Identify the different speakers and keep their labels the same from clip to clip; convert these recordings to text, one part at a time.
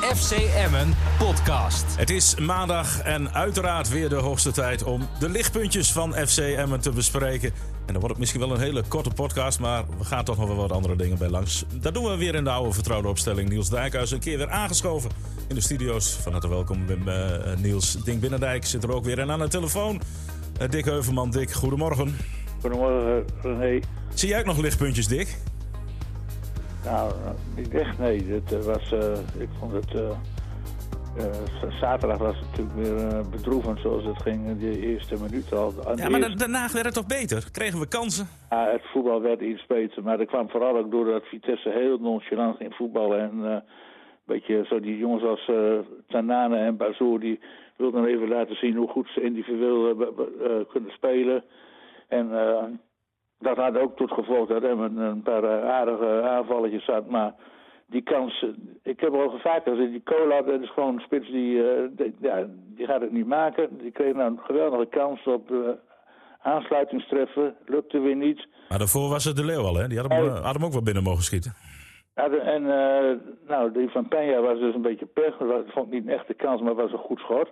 Speaker 1: FC Emmen podcast.
Speaker 2: Het is maandag en uiteraard weer de hoogste tijd om de lichtpuntjes van FC Emmen te bespreken. En dan wordt het misschien wel een hele korte podcast, maar we gaan toch nog wel wat andere dingen bij langs. Dat doen we weer in de oude vertrouwde opstelling. Niels Dijkhuis een keer weer aangeschoven in de studio's. Van harte welkom Wim, eh, Niels. Dink Binnendijk zit er ook weer. En aan de telefoon eh, Dick Heuvelman. Dick, goedemorgen.
Speaker 3: Goedemorgen, René.
Speaker 2: Zie jij ook nog lichtpuntjes, Dick?
Speaker 3: Nou, niet echt, nee. Dit eh, was, eh, ik vond het... eh, eh, z- zaterdag was het natuurlijk weer eh, bedroevend zoals het ging in de eerste minuut al. Aan de
Speaker 2: Ja, maar da-
Speaker 3: eerste-
Speaker 2: daarna werd het toch beter? Kregen we kansen?
Speaker 3: ja, het voetbal werd iets beter, maar dat kwam vooral ook doordat Vitesse heel nonchalant ging voetballen. En eh, een beetje zo die jongens als eh, Tanane en Bazoer, die wilden even laten zien hoe goed ze individueel eh, be- be- eh, kunnen spelen. En eh, dat had ook tot gevolg dat Emmen een paar eh, aardige aanvalletjes had, maar die kans, eh, ik heb al vaker gezegd, die Cola, dat is gewoon een spits die, eh, die- ja, die gaat het niet maken. Die kreeg nou een geweldige kans op eh aansluitingstreffen, lukte weer niet.
Speaker 2: Maar daarvoor was het de Leeuw al, hè? Die had hem,
Speaker 3: Oh.
Speaker 2: eh, had hem ook wel binnen mogen schieten.
Speaker 3: Ja, de- en eh, nou, die van Penja was dus een beetje pech. Dat was- vond ik niet een echte kans, maar was een goed schot.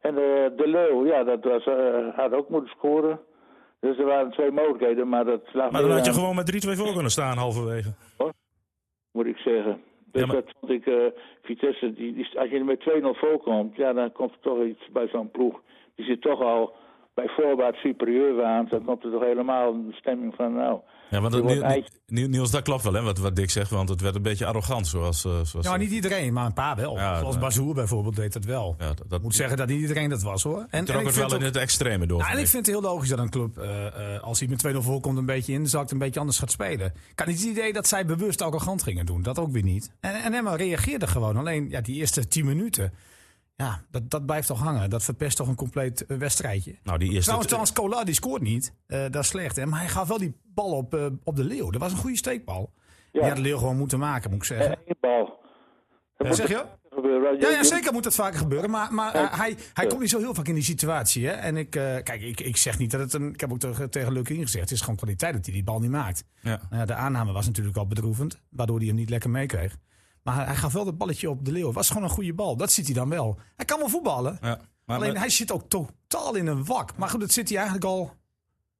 Speaker 3: En de, de Leeuw, ja, dat was, eh, had ook moeten scoren. Dus er waren twee mogelijkheden, maar dat lag
Speaker 2: Maar dan
Speaker 3: weer
Speaker 2: had je
Speaker 3: aan-
Speaker 2: gewoon met 3-2 voor kunnen staan halverwege.
Speaker 3: moet ik zeggen. Dus
Speaker 2: Ja, maar-
Speaker 3: dat vond ik, eh, Vitesse, die, die- als je er met 2-0 voorkomt, ja, dan komt er toch iets bij zo'n ploeg. Die zit toch al bij voorbaat superieur weer aan. Dan komt er toch helemaal een stemming van, nou...
Speaker 2: Ja, want
Speaker 3: Er
Speaker 2: dat-
Speaker 3: wordt eigenlijk-
Speaker 2: Niel- Niel- Niels, dat klopt wel, hè, wat, wat Dick zegt. Want het werd een beetje arrogant, zoals... eh, zoals
Speaker 4: Ja, maar niet iedereen, maar een paar wel.
Speaker 2: Ja,
Speaker 4: Zoals
Speaker 2: dat-
Speaker 4: Bazoer bijvoorbeeld deed dat wel.
Speaker 2: Ja, dat, dat
Speaker 4: Ik moet zeggen dat niet iedereen dat was hoor. En, en
Speaker 2: trok
Speaker 4: ik
Speaker 2: het
Speaker 4: vind
Speaker 2: wel in
Speaker 4: ook-
Speaker 2: het extreme door.
Speaker 4: Nou, en
Speaker 2: vind
Speaker 4: ik
Speaker 2: ik.
Speaker 4: vind het heel logisch dat een club, eh, eh, als hij met 2-0 voorkomt, een beetje inzakt, een beetje anders gaat spelen. Ik had niet het idee dat zij bewust arrogant gingen doen. Dat ook weer niet. En, en Emma reageerde gewoon. Alleen ja, die eerste 10 minuten, ja, dat, dat blijft toch hangen. Dat verpest toch een compleet eh, wedstrijdje.
Speaker 2: Nou, die eerste...
Speaker 4: Trouwens, trouwens, Cola die scoort niet. Eh, dat is slecht. Hè? Maar hij gaf wel die bal op, eh, op de Leeuw. Dat was een goede steekbal. Ja. Die had de Leeuw gewoon moeten maken, moet ik zeggen.
Speaker 3: Eén bal. Dat
Speaker 4: Zeg je?
Speaker 3: gebeuren.
Speaker 4: Ja,
Speaker 3: Je-
Speaker 4: ja,
Speaker 3: je-
Speaker 2: dus-
Speaker 4: zeker moet dat vaker gebeuren. Maar, maar eh, hij, hij komt niet zo heel vaak in die situatie. Hè? En ik, eh, kijk, ik, ik zeg niet dat het een. Ik heb ook tegen, tegen Leukien gezegd. Het is gewoon kwaliteit dat hij die bal niet maakt.
Speaker 2: Ja.
Speaker 4: Nou ja, de aanname was natuurlijk al bedroevend. Waardoor hij hem niet lekker meekreeg. Maar hij, hij gaf wel dat balletje op de leeuw. Het was gewoon een goede bal. Dat ziet hij dan wel. Hij kan wel voetballen.
Speaker 2: Ja, maar,
Speaker 4: Alleen
Speaker 2: maar-
Speaker 4: hij zit ook totaal in een wak. Maar goed, dat zit hij eigenlijk al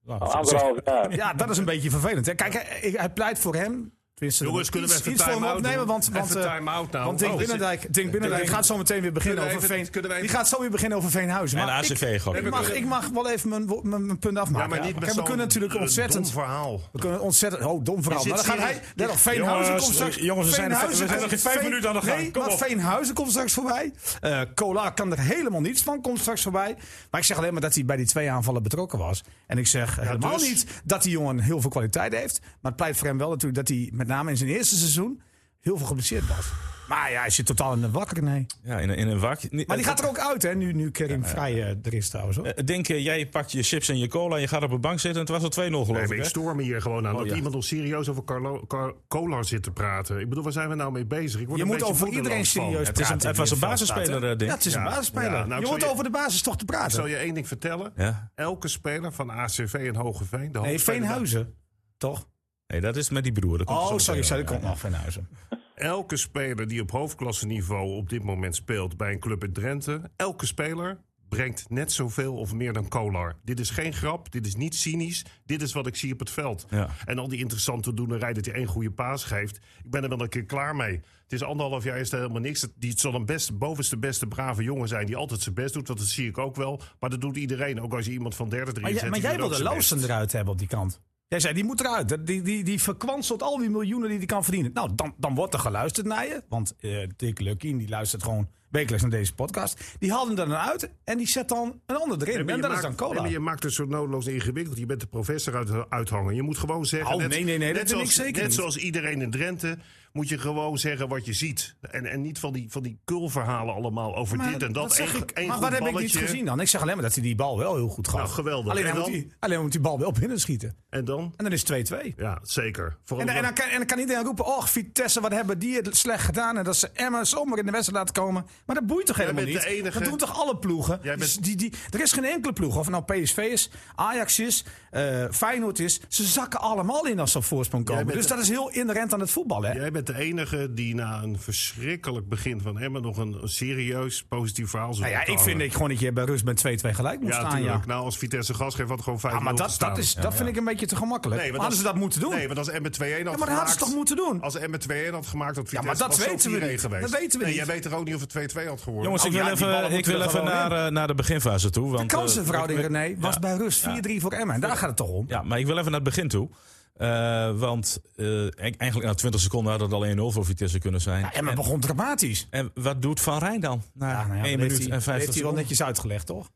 Speaker 2: nou,
Speaker 3: Al
Speaker 2: zo-
Speaker 3: Anderhalf jaar.
Speaker 4: ja, dat is een beetje vervelend. Hè. Kijk, hij, hij pleit voor hem. Tenminste,
Speaker 5: Jongens, kunnen we
Speaker 4: iets-
Speaker 5: even
Speaker 4: iets voor hem
Speaker 5: time-out
Speaker 4: opnemen?
Speaker 5: doen?
Speaker 4: Want, want,
Speaker 5: Even
Speaker 4: eh,
Speaker 5: time-out nou.
Speaker 4: Want Dink
Speaker 5: Oh,
Speaker 4: Binnendijk, Dink Binnendijk
Speaker 5: we-
Speaker 4: gaat zo meteen weer beginnen
Speaker 5: kunnen we
Speaker 4: over
Speaker 5: even-
Speaker 4: Veen.
Speaker 5: kunnen we even-
Speaker 4: Die gaat zo weer beginnen over Veenhuizen.
Speaker 2: En
Speaker 4: Maar ik-
Speaker 2: ACV gewoon.
Speaker 4: ik, mag, ik mag wel even mijn, wo- mijn, mijn punt afmaken.
Speaker 5: Ja, maar niet met
Speaker 4: Kijk, we
Speaker 5: zo'n,
Speaker 4: kunnen natuurlijk
Speaker 5: eh,
Speaker 4: ontzettend...
Speaker 5: dom verhaal.
Speaker 4: We kunnen ontzettend... Oh, dom verhaal.
Speaker 5: Je
Speaker 4: Maar dan
Speaker 5: zit
Speaker 4: gaat hij...
Speaker 5: serieus-
Speaker 4: Let op, Veenhuizen
Speaker 2: Jongens, eh,
Speaker 4: komt straks...
Speaker 2: jongens, we zijn er-
Speaker 4: Veenhuizen
Speaker 2: we zijn er
Speaker 4: komt-
Speaker 2: geen vijf
Speaker 4: Veen-
Speaker 2: minuten aan de gang.
Speaker 4: Nee,
Speaker 2: Kom
Speaker 4: maar
Speaker 2: op.
Speaker 4: Veenhuizen komt straks voorbij. Eh Cola kan er helemaal niets van. Komt straks voorbij. Maar ik zeg alleen maar dat hij bij die twee aanvallen betrokken was. En ik zeg helemaal
Speaker 5: dus?
Speaker 4: niet dat die jongen heel veel kwaliteit heeft. Maar het pleit voor hem wel natuurlijk dat hij met name in zijn eerste seizoen heel veel geblesseerd was. Maar ja, hij zit totaal in de wakker, nee.
Speaker 2: Ja, in, een- in een wak. Ni-
Speaker 4: Maar die gaat er ook uit, hè, nu, nu Kerim Vrij eh, er is trouwens. Hoor.
Speaker 2: Eh, Denk, eh, jij pakt je chips en je cola en je gaat op een bank zitten. En het was al 2-0 geloof
Speaker 5: Nee,
Speaker 2: ik,
Speaker 5: maar ik
Speaker 2: hè?
Speaker 5: stoor me hier gewoon aan
Speaker 4: Oh,
Speaker 5: dat
Speaker 2: ja.
Speaker 5: iemand ons serieus over Carlo, Car- Cola zit te praten. Ik bedoel, waar zijn we nou mee bezig? Ik word
Speaker 4: Je
Speaker 5: een
Speaker 4: moet
Speaker 5: beetje
Speaker 4: over iedereen
Speaker 5: moedeloos van.
Speaker 4: serieus
Speaker 2: Het is een-
Speaker 4: praten.
Speaker 2: het was een
Speaker 4: in het veld
Speaker 2: basisspeler,
Speaker 4: staat, hè?
Speaker 2: eh, Dick.
Speaker 4: Ja, het is
Speaker 5: Ja,
Speaker 4: een basisspeler.
Speaker 5: ja, nou, ik
Speaker 4: je
Speaker 5: zal
Speaker 4: hoort
Speaker 5: je-
Speaker 4: over de basis toch te
Speaker 5: Ik zal
Speaker 4: praten.
Speaker 5: je één ding vertellen.
Speaker 2: Ja.
Speaker 5: Elke speler van ACV en Hogeveen... De
Speaker 4: Nee,
Speaker 5: hoofdspeler-
Speaker 4: Veenhuizen. Toch?
Speaker 2: Nee, dat is met die broer. dat komt er zo
Speaker 4: Oh,
Speaker 2: meteen
Speaker 4: sorry, sorry.
Speaker 2: wel.
Speaker 4: Dat komt nog Veenhuizen.
Speaker 5: Elke speler die op hoofdklasseniveau op dit moment speelt bij een club in Drenthe... elke speler brengt net zoveel of meer dan Kolar. Dit is geen grap, dit is niet cynisch, dit is wat ik zie op het veld.
Speaker 2: Ja.
Speaker 5: En al die interessante doenerij dat hij één goede paas geeft... ik ben er wel een keer klaar mee. Het is anderhalf jaar is er helemaal niks. Het- Die zal een best, bovenste beste brave jongen zijn die altijd zijn best doet. want Dat zie ik ook wel, maar dat doet iedereen. Ook als je iemand van derde erin
Speaker 4: Maar,
Speaker 5: zet.
Speaker 4: jij- maar
Speaker 5: die
Speaker 4: jij
Speaker 5: doet ook
Speaker 4: wilde
Speaker 5: zijn best.
Speaker 4: Loosen eruit hebben op die kant. Jij zei, die moet eruit. Dat- Die, die, die verkwanselt al die miljoenen die hij kan verdienen. Nou, dan, dan wordt er geluisterd naar je. Want eh Dick Lukien, die luistert gewoon wekelijks naar deze podcast. Die haalde hem er dan uit en die zet dan een ander erin.
Speaker 5: Nee, maar
Speaker 4: en
Speaker 5: je
Speaker 4: dat is dan
Speaker 5: maakt-
Speaker 4: cola.
Speaker 5: nee, maar je maakt het zo noodloos ingewikkeld. Je bent de professor uit, uithangen. Je moet gewoon zeggen...
Speaker 4: Oh, nee, nee, nee, dat wil ik
Speaker 5: zoals,
Speaker 4: zeker
Speaker 5: net
Speaker 4: niet.
Speaker 5: zoals iedereen in Drenthe moet je gewoon zeggen wat je ziet. En, en niet van die, van die kulverhalen allemaal over
Speaker 4: Maar
Speaker 5: dit en dat.
Speaker 4: dat zeg
Speaker 5: Eén-
Speaker 4: ik.
Speaker 5: één
Speaker 4: maar
Speaker 5: goed
Speaker 4: wat heb ik niet
Speaker 5: balletje.
Speaker 4: gezien dan? Ik zeg alleen maar dat hij die bal wel heel goed gaf.
Speaker 5: Nou, geweldig.
Speaker 4: Alleen,
Speaker 5: En
Speaker 4: hij moet
Speaker 5: dan?
Speaker 4: die, alleen hij moet die bal wel binnenschieten.
Speaker 5: En dan?
Speaker 4: En dan is het 2-2.
Speaker 5: Ja, zeker. Vooral
Speaker 4: En, en, dan
Speaker 5: dat-
Speaker 4: kan, en dan kan iedereen roepen, oh Vitesse, wat hebben die het slecht gedaan. En dat ze Emma zomaar in de wedstrijd laten komen. Maar dat boeit toch helemaal
Speaker 5: bent
Speaker 4: niet?
Speaker 5: de enige-
Speaker 4: Dat doen toch alle ploegen?
Speaker 5: Jij bent-
Speaker 4: Dus Die, die, er is geen enkele ploeg, of het nou PSV is, Ajax is, eh, Feyenoord is. Ze zakken allemaal in als ze op voorsprong komen.
Speaker 5: bent
Speaker 4: Dus
Speaker 5: de-
Speaker 4: dat is heel inherent aan het voetbal. Hè?
Speaker 5: Jij bent het de enige die na een verschrikkelijk begin van Emmen nog een, een serieus positief verhaal zou
Speaker 4: Nou ja, ik vind ik gewoon dat je bij rust met 2-2 gelijk moet
Speaker 5: Ja,
Speaker 4: staan. Ja.
Speaker 5: tuurlijk. Nou, als Vitesse gas geeft, had het gewoon 5
Speaker 4: Ah, maar dat, dat, is, dat vind ik een beetje te gemakkelijk.
Speaker 5: Nee, want
Speaker 4: hadden
Speaker 5: als-
Speaker 4: ze dat moeten doen?
Speaker 5: Nee, want als Emmen 2-1 had
Speaker 4: ja, maar dat hadden ze toch moeten doen?
Speaker 5: Als Emmen 2-1 had gemaakt, had Vitesse
Speaker 4: maar dat
Speaker 5: was zo
Speaker 4: weten we
Speaker 5: 4-1
Speaker 4: niet.
Speaker 5: geweest.
Speaker 4: Dat weten we
Speaker 5: nee,
Speaker 4: niet.
Speaker 5: Jij weet er ook niet of het 2-2 had geworden.
Speaker 2: Jongens,
Speaker 4: Oh
Speaker 2: ik
Speaker 4: ja,
Speaker 2: wil
Speaker 4: die ballen
Speaker 2: even, ik
Speaker 4: moeten
Speaker 2: wil
Speaker 4: er
Speaker 2: even
Speaker 4: gewoon
Speaker 2: naar, eh, naar de beginfase toe. Want,
Speaker 4: De kansenverhouding,
Speaker 2: eh, ik-
Speaker 4: René, was
Speaker 2: ja,
Speaker 4: bij rust 4-3 voor Emmen. Daar gaat het toch om?
Speaker 2: Ja, maar ik wil even naar het begin toe. Eh, want eh, e- eigenlijk na 20 seconden had het al 1-0 voor Vitesse kunnen zijn.
Speaker 4: Ja, Emmen begon dramatisch.
Speaker 2: En wat doet Van Rijn dan? Na
Speaker 4: Ja, nou ja,
Speaker 2: 1
Speaker 4: dat heeft
Speaker 2: minuut en
Speaker 4: hij- dat heeft
Speaker 2: 50
Speaker 4: hij wel
Speaker 2: seconden.
Speaker 4: netjes uitgelegd, toch? Dat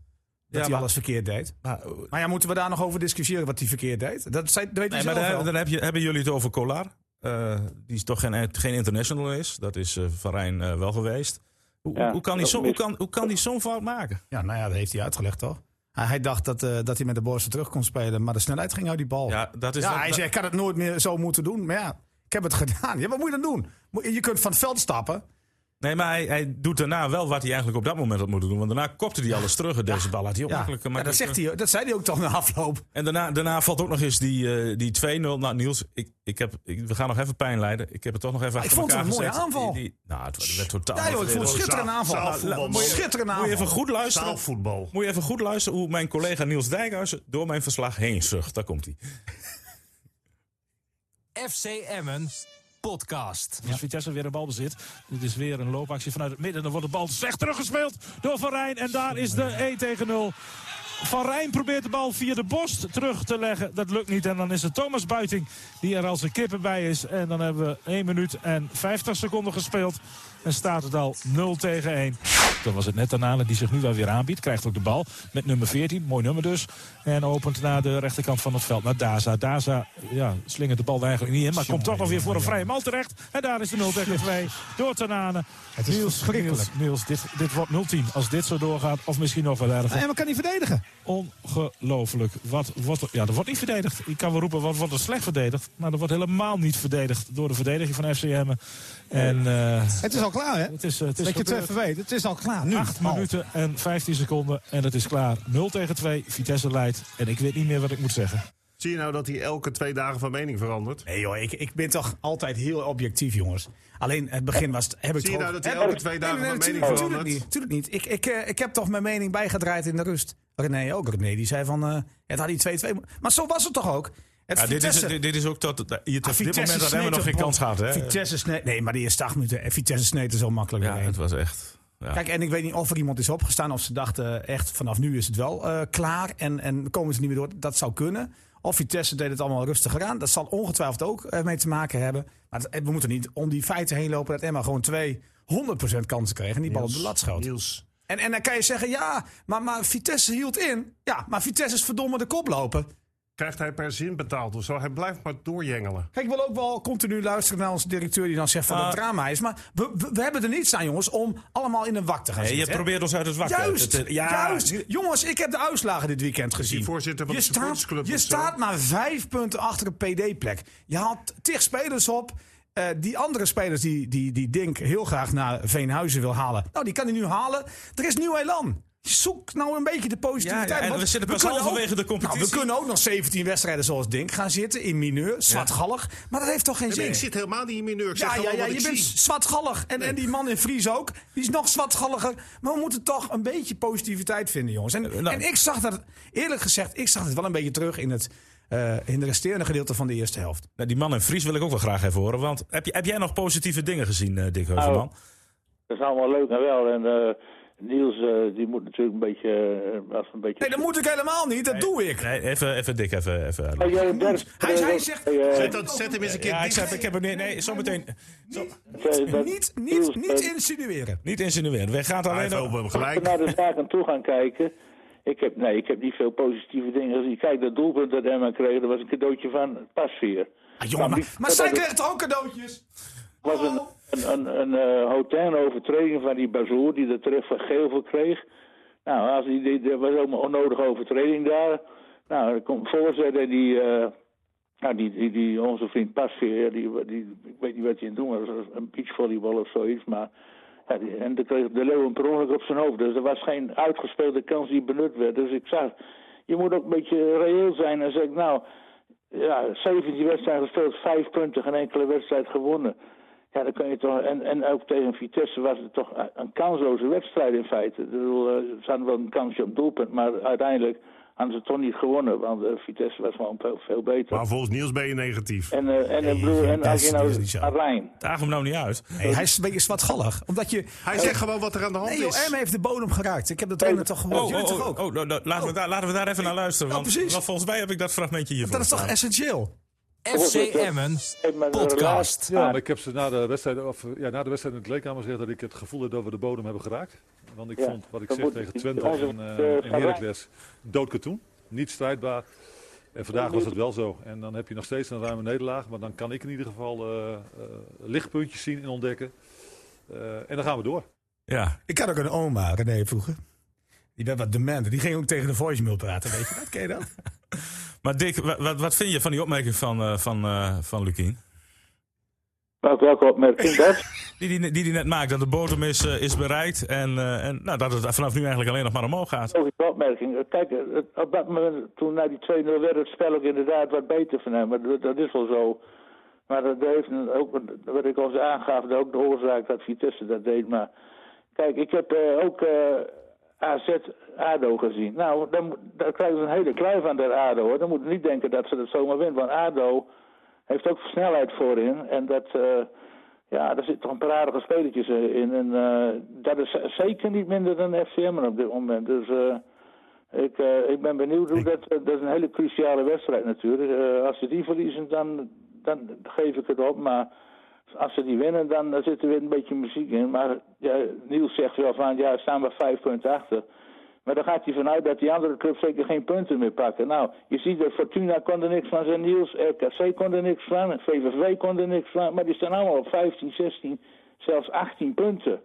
Speaker 2: Ja,
Speaker 4: hij
Speaker 2: maar-
Speaker 4: alles verkeerd deed.
Speaker 2: Maar, eh,
Speaker 4: Maar ja, moeten we daar nog over discussiëren wat hij verkeerd deed? Dat, zei, dat weet hij
Speaker 2: nee, maar
Speaker 4: zelf
Speaker 2: dan,
Speaker 4: wel.
Speaker 2: dan heb je, hebben jullie het over Kolar. eh, die is toch geen, geen international is. Dat is eh, Van Rijn eh, wel geweest. Hoe,
Speaker 3: Ja,
Speaker 2: hoe kan die
Speaker 3: dat
Speaker 2: zo- hoe
Speaker 3: mis-
Speaker 2: kan- hoe kan die zo'n fout maken?
Speaker 4: Ja, nou ja, dat heeft hij uitgelegd, toch? Hij, hij dacht dat, eh, dat hij met de borsten terug kon spelen, maar de snelheid ging uit die bal.
Speaker 2: Ja, dat is
Speaker 4: ja,
Speaker 2: dat-
Speaker 4: hij
Speaker 2: dat-
Speaker 4: zei, ik had het nooit meer zo moeten doen. Maar ja, ik heb het gedaan. Ja, wat moet je dan doen? Moet- Je kunt van het veld stappen.
Speaker 2: Nee, maar hij, hij doet daarna wel wat hij eigenlijk op dat moment had moeten doen. Want daarna kopte hij alles terug. en Deze bal had hij ook
Speaker 4: Ja,
Speaker 2: makkelijk
Speaker 4: Ja, dat,
Speaker 2: makkelijk-
Speaker 4: zegt hij, dat zei hij ook toch na afloop.
Speaker 2: En daarna, daarna valt ook nog eens die, eh, die 2-0. Nou, Niels, ik, ik heb, ik- we gaan nog even pijn lijden. Ik heb het toch nog even achter
Speaker 4: vond het
Speaker 2: elkaar
Speaker 4: een mooie
Speaker 2: gezet.
Speaker 4: aanval.
Speaker 2: Die- die- nou, het werd totaal...
Speaker 4: Ja, joh, ik vond het
Speaker 5: Zaal-
Speaker 4: schitterende aanval.
Speaker 5: zaalvoetbal,
Speaker 4: Nou,
Speaker 5: man.
Speaker 4: Schitterende
Speaker 2: Moet je
Speaker 4: aanval.
Speaker 2: even goed luisteren.
Speaker 5: Zaalvoetbal.
Speaker 2: Moet je even goed luisteren hoe mijn collega Niels Dijkhuizen door mijn verslag heen zucht. Daar komt hij.
Speaker 1: FC Emmen podcast. Als Vitesse weer een bal bezit. Dit is weer een loopactie vanuit het midden. Dan wordt de bal slecht teruggespeeld door Van Rijn. En daar is de 1 tegen 0. Van Rijn probeert de bal via de borst terug te leggen. Dat lukt niet. En dan is het Thomas Buiting die er als een kippen bij is. En dan hebben we 1 minuut en 50 seconden gespeeld. En staat het al 0 tegen 1. Dan was het net Anale die zich nu wel weer aanbiedt. Krijgt ook de bal met nummer 14. Mooi nummer dus. En opent naar de rechterkant van het veld. Naar Daza. Daza ja, slingert de bal er eigenlijk niet in. Maar komt toch nog weer voor een vrije mal terecht. En daar is de 0 tegen 2 door Tanane.
Speaker 4: Het is
Speaker 1: Niels,
Speaker 4: verschrikkelijk.
Speaker 1: Niels, Niels, dit, dit wordt 0-10 als dit zo doorgaat. Of misschien nog wel erger.
Speaker 4: En we kan niet verdedigen.
Speaker 1: Ongelooflijk. Wat wordt er, ja, er wordt niet verdedigd. Ik kan wel roepen, wat wordt er slecht verdedigd? Maar er wordt helemaal niet verdedigd door de verdediging van FC Emmen. En eh,
Speaker 4: Het is al klaar, hè?
Speaker 1: het is, eh, het is
Speaker 4: Dat je het
Speaker 1: gebeurd.
Speaker 4: even weet. Het is al klaar. Nu.
Speaker 1: 8
Speaker 4: Al.
Speaker 1: minuten en 15 seconden en het is klaar. 0 tegen 2, Vitesse leidt. En ik weet niet meer wat ik moet zeggen.
Speaker 5: Zie je nou dat hij elke twee dagen van mening verandert?
Speaker 4: Nee joh, ik, ik ben toch altijd heel objectief, jongens. Alleen het begin was... Heb ik
Speaker 5: Zie je
Speaker 4: toch-
Speaker 5: nou dat hij
Speaker 4: heb
Speaker 5: elke
Speaker 4: ik-
Speaker 5: twee dagen van mening
Speaker 4: natuurlijk-
Speaker 5: verandert?
Speaker 4: Natuurlijk niet, natuurlijk niet. Ik, ik, eh, ik heb toch mijn mening bijgedraaid in de rust. René ook. René die zei van... eh, het had die 2-2... mo- Maar zo was het toch ook? Het
Speaker 2: Ja, dit, is,
Speaker 4: Vitesse-
Speaker 2: dit, dit is ook tot... Hier, tot
Speaker 4: Ah,
Speaker 2: op dit moment
Speaker 4: sneed
Speaker 2: hebben we nog
Speaker 4: de
Speaker 2: geen
Speaker 4: bal.
Speaker 2: kans gehad, hè?
Speaker 4: Vitesse sneed... Nee, maar die eerste acht minuten... eh, Vitesse sneed er zo makkelijk
Speaker 2: Ja,
Speaker 4: doorheen.
Speaker 2: het was echt... Ja.
Speaker 4: Kijk, en ik weet niet of er iemand is opgestaan of ze dachten eh, echt vanaf nu is het wel eh, klaar en, en komen ze niet meer door. Dat zou kunnen. Of Vitesse deed het allemaal rustiger aan. Dat zal ongetwijfeld ook eh, mee te maken hebben. Maar het- we moeten niet om die feiten heen lopen dat Emma gewoon twee 100% kansen kreeg en die bal op de lat schoot.
Speaker 5: Niels.
Speaker 4: En, en dan kan je zeggen, ja, maar, maar Vitesse hield in. Ja, maar Vitesse is verdomme de koploper.
Speaker 5: Krijgt hij per zin betaald of zo? Hij blijft maar doorjengelen.
Speaker 4: Kijk, ik wil ook wel continu luisteren naar onze directeur die dan zegt van dat drama is. Maar we, we, we hebben er niets aan, jongens, om allemaal in een wak te gaan
Speaker 2: Nee, je
Speaker 4: zitten. hè?
Speaker 2: probeert ons uit het wakker.
Speaker 4: Juist,
Speaker 2: Het- het- ja,
Speaker 4: juist. Jongens, ik heb de uitslagen dit weekend gezien.
Speaker 5: voorzitter van
Speaker 4: je
Speaker 5: de
Speaker 4: staat,
Speaker 5: supportersclub
Speaker 4: je
Speaker 5: of zo?
Speaker 4: staat maar vijf punten achter een PD-plek. Je haalt tig spelers op. Eh, die andere spelers die, die, die Dink heel graag naar Veenhuizen wil halen. Nou, die kan hij nu halen. Er is nieuw elan. Zoek nou een beetje de positiviteit.
Speaker 2: Ja, ja, en
Speaker 4: want
Speaker 2: we zitten pas
Speaker 4: kunnen
Speaker 2: halverwege
Speaker 4: ook-
Speaker 2: de competitie.
Speaker 4: Nou, we kunnen ook nog 17 wedstrijden zoals Dink gaan zitten in mineur. Zwartgallig. Maar dat heeft toch geen zin?
Speaker 5: ik zit helemaal niet in mijn neur. Ik
Speaker 4: Ja,
Speaker 5: zeg
Speaker 4: ja,
Speaker 5: gewoon
Speaker 4: ja,
Speaker 5: wat
Speaker 4: je
Speaker 5: ik
Speaker 4: bent
Speaker 5: zie.
Speaker 4: zwartgallig. En, en die man in Fries ook. Die is nog zwartgalliger. Maar we moeten toch een beetje positiviteit vinden, jongens.
Speaker 5: Eh,
Speaker 4: En,
Speaker 2: nou.
Speaker 4: en ik zag dat, eerlijk gezegd, ik zag het wel een beetje terug in het eh, in de resterende gedeelte van de eerste helft.
Speaker 2: Nou, die man in Fries wil ik ook wel graag even horen. Want heb, je, heb jij nog positieve dingen gezien, eh, Dick Heuvelman?
Speaker 3: Dat is allemaal leuk en wel. En eh, Niels, eh, die moet natuurlijk een beetje... eh, als een beetje
Speaker 4: Nee, dat moet ik helemaal niet. Dat doe ik.
Speaker 2: Nee, even, even Dick, even, even uitleggen.
Speaker 3: Hey, jij, Bert,
Speaker 4: Hij, hij
Speaker 3: eh,
Speaker 4: zegt
Speaker 3: hey, eh,
Speaker 5: Zet, dat, zet hem eens een keer
Speaker 2: Ja, ik,
Speaker 5: dicht.
Speaker 2: heb, ik heb hem niet. Nee, zometeen.
Speaker 3: eh, dat-
Speaker 4: niet,
Speaker 3: Niels,
Speaker 4: niet, niet
Speaker 3: eh,
Speaker 4: insinueren.
Speaker 2: Niet insinueren. We gaan
Speaker 5: Hij
Speaker 2: alleen
Speaker 5: heeft
Speaker 2: nog.
Speaker 5: hem
Speaker 3: Als we
Speaker 5: gelijk.
Speaker 3: naar de zaken toe gaan kijken. Ik heb, nee, ik heb niet veel positieve dingen gezien. Kijk, dat doelpunt dat Emma kreeg, dat was een cadeautje van Pasveer.
Speaker 4: Ah, jongen,
Speaker 3: Nou,
Speaker 4: maar,
Speaker 3: die-
Speaker 4: maar
Speaker 3: dat-
Speaker 4: zij
Speaker 3: dat-
Speaker 4: krijgt ook cadeautjes.
Speaker 3: was een, een, een, een eh, hotel overtreding van die Bazoer, die er terecht van geel voor kreeg. Nou, als die, die, er was ook een onnodige overtreding daar. Nou, er komt voorzitter die, eh, nou, die, die, die, onze vriend Pasveer, die, die, ik weet niet wat hij aan het doen was, een beachvolleybal of zoiets, maar... Ja, die- en dan kreeg de leeuw een per ongeluk op zijn hoofd. Dus er was geen uitgespeelde kans die benut werd. Dus ik zag, je moet ook een beetje reëel zijn en zeg nou... Ja, 17 wedstrijden gespeeld, 5 punten, geen enkele wedstrijd gewonnen. Ja, dan kun je toch. En, en ook tegen Vitesse was het toch een kansloze wedstrijd in feite. Ik bedoel, eh, Ze hadden wel een kansje op doelpunt, maar uiteindelijk hadden ze het toch niet gewonnen. Want eh, Vitesse was gewoon veel, veel beter.
Speaker 5: Maar volgens Niels ben je negatief.
Speaker 3: En, eh, en, eh,
Speaker 4: Nee,
Speaker 3: broer, en
Speaker 4: dat
Speaker 3: als
Speaker 4: is-
Speaker 3: je
Speaker 4: dat is niet zo.
Speaker 3: nou Arijn.
Speaker 2: Daag hem nou niet uit.
Speaker 4: Nee, hij is een beetje zwartgallig. Omdat je...
Speaker 5: Hij zegt gewoon wat er aan de hand
Speaker 4: Nee, joh,
Speaker 5: is.
Speaker 4: Erme heeft de bodem geraakt. Ik heb de trainer toch gehoord.
Speaker 2: Oh,
Speaker 4: Jullie
Speaker 2: oh,
Speaker 4: toch
Speaker 2: oh,
Speaker 4: ook? nou,
Speaker 2: oh, nou, nou, laten, we daar, laten we daar even naar luisteren. Want,
Speaker 4: precies.
Speaker 2: want volgens mij heb ik dat fragmentje hiervoor.
Speaker 4: Dat is toch
Speaker 2: staan.
Speaker 4: essentieel?
Speaker 1: FC Emmen
Speaker 3: Hey, maar eh, de
Speaker 1: podcast.
Speaker 6: Ja, maar ik heb ze na de wedstrijd, of, eh, ja, na de wedstrijd in het kleedkamer gezegd dat ik het gevoel heb dat we de bodem hebben geraakt. Want ik
Speaker 3: Ja,
Speaker 6: vond wat ik
Speaker 3: dan
Speaker 6: zeg
Speaker 3: moet
Speaker 6: tegen
Speaker 3: je-
Speaker 6: Twente
Speaker 3: onze-
Speaker 6: en, eh
Speaker 3: de-
Speaker 6: en Heracles doodkatoen. Niet strijdbaar. En vandaag was het wel zo. En dan heb je nog steeds een ruime nederlaag. Maar dan kan ik in ieder geval eh, eh, lichtpuntjes zien en ontdekken. Eh, en dan gaan we door.
Speaker 2: Ja,
Speaker 4: Ik had ook een oma, René, vroeger. Die werd wat dement. Die ging ook tegen de voicemail praten, weet je dat? Ken je dat?
Speaker 2: maar Dick, wa- wat, wat vind je van die opmerking van, eh, van, eh, van Lukien?
Speaker 3: Welke, welke opmerking dat?
Speaker 2: Die die, die die net maakt, dat de bodem is, eh, is bereikt en, eh, en nou, dat het vanaf nu eigenlijk alleen nog maar omhoog gaat.
Speaker 3: Logische opmerking. Kijk, eh, het- op dat moment, toen na die 2-0 werd het spel ook inderdaad wat beter van hem. Maar dat- dat is wel zo. Maar dat heeft een- ook, wat ik al aangaf, dat ook de oorzaak dat Vitesse dat deed. Maar kijk, ik heb eh, ook eh, AZ ADO gezien. Nou, dan, moet- dan krijgen ze een hele kluif aan dat ADO. Hoor. Dan moeten we niet denken dat ze dat zomaar wint. Want ADO heeft ook snelheid voorin. En dat, eh, ja, daar zitten toch een paar aardige spelletjes eh, in. En eh, dat is z- zeker niet minder dan FCM op dit moment. Dus... eh, ik, eh, ik ben benieuwd hoe dat. eh, dat is een hele cruciale wedstrijd natuurlijk. Eh, als ze die verliezen, dan, dan geef ik het op. Maar als ze die winnen, dan eh, zit er weer een beetje muziek in. Maar ja, Niels zegt wel van ja, we staan we vijf punten achter. Maar dan gaat hij vanuit dat die andere clubs zeker geen punten meer pakken. Nou, je ziet dat Fortuna kon er niks van zijn, Niels, RKC kon er niks van, VVV kon er niks van. Maar die staan allemaal op 15, 16, zelfs 18 punten.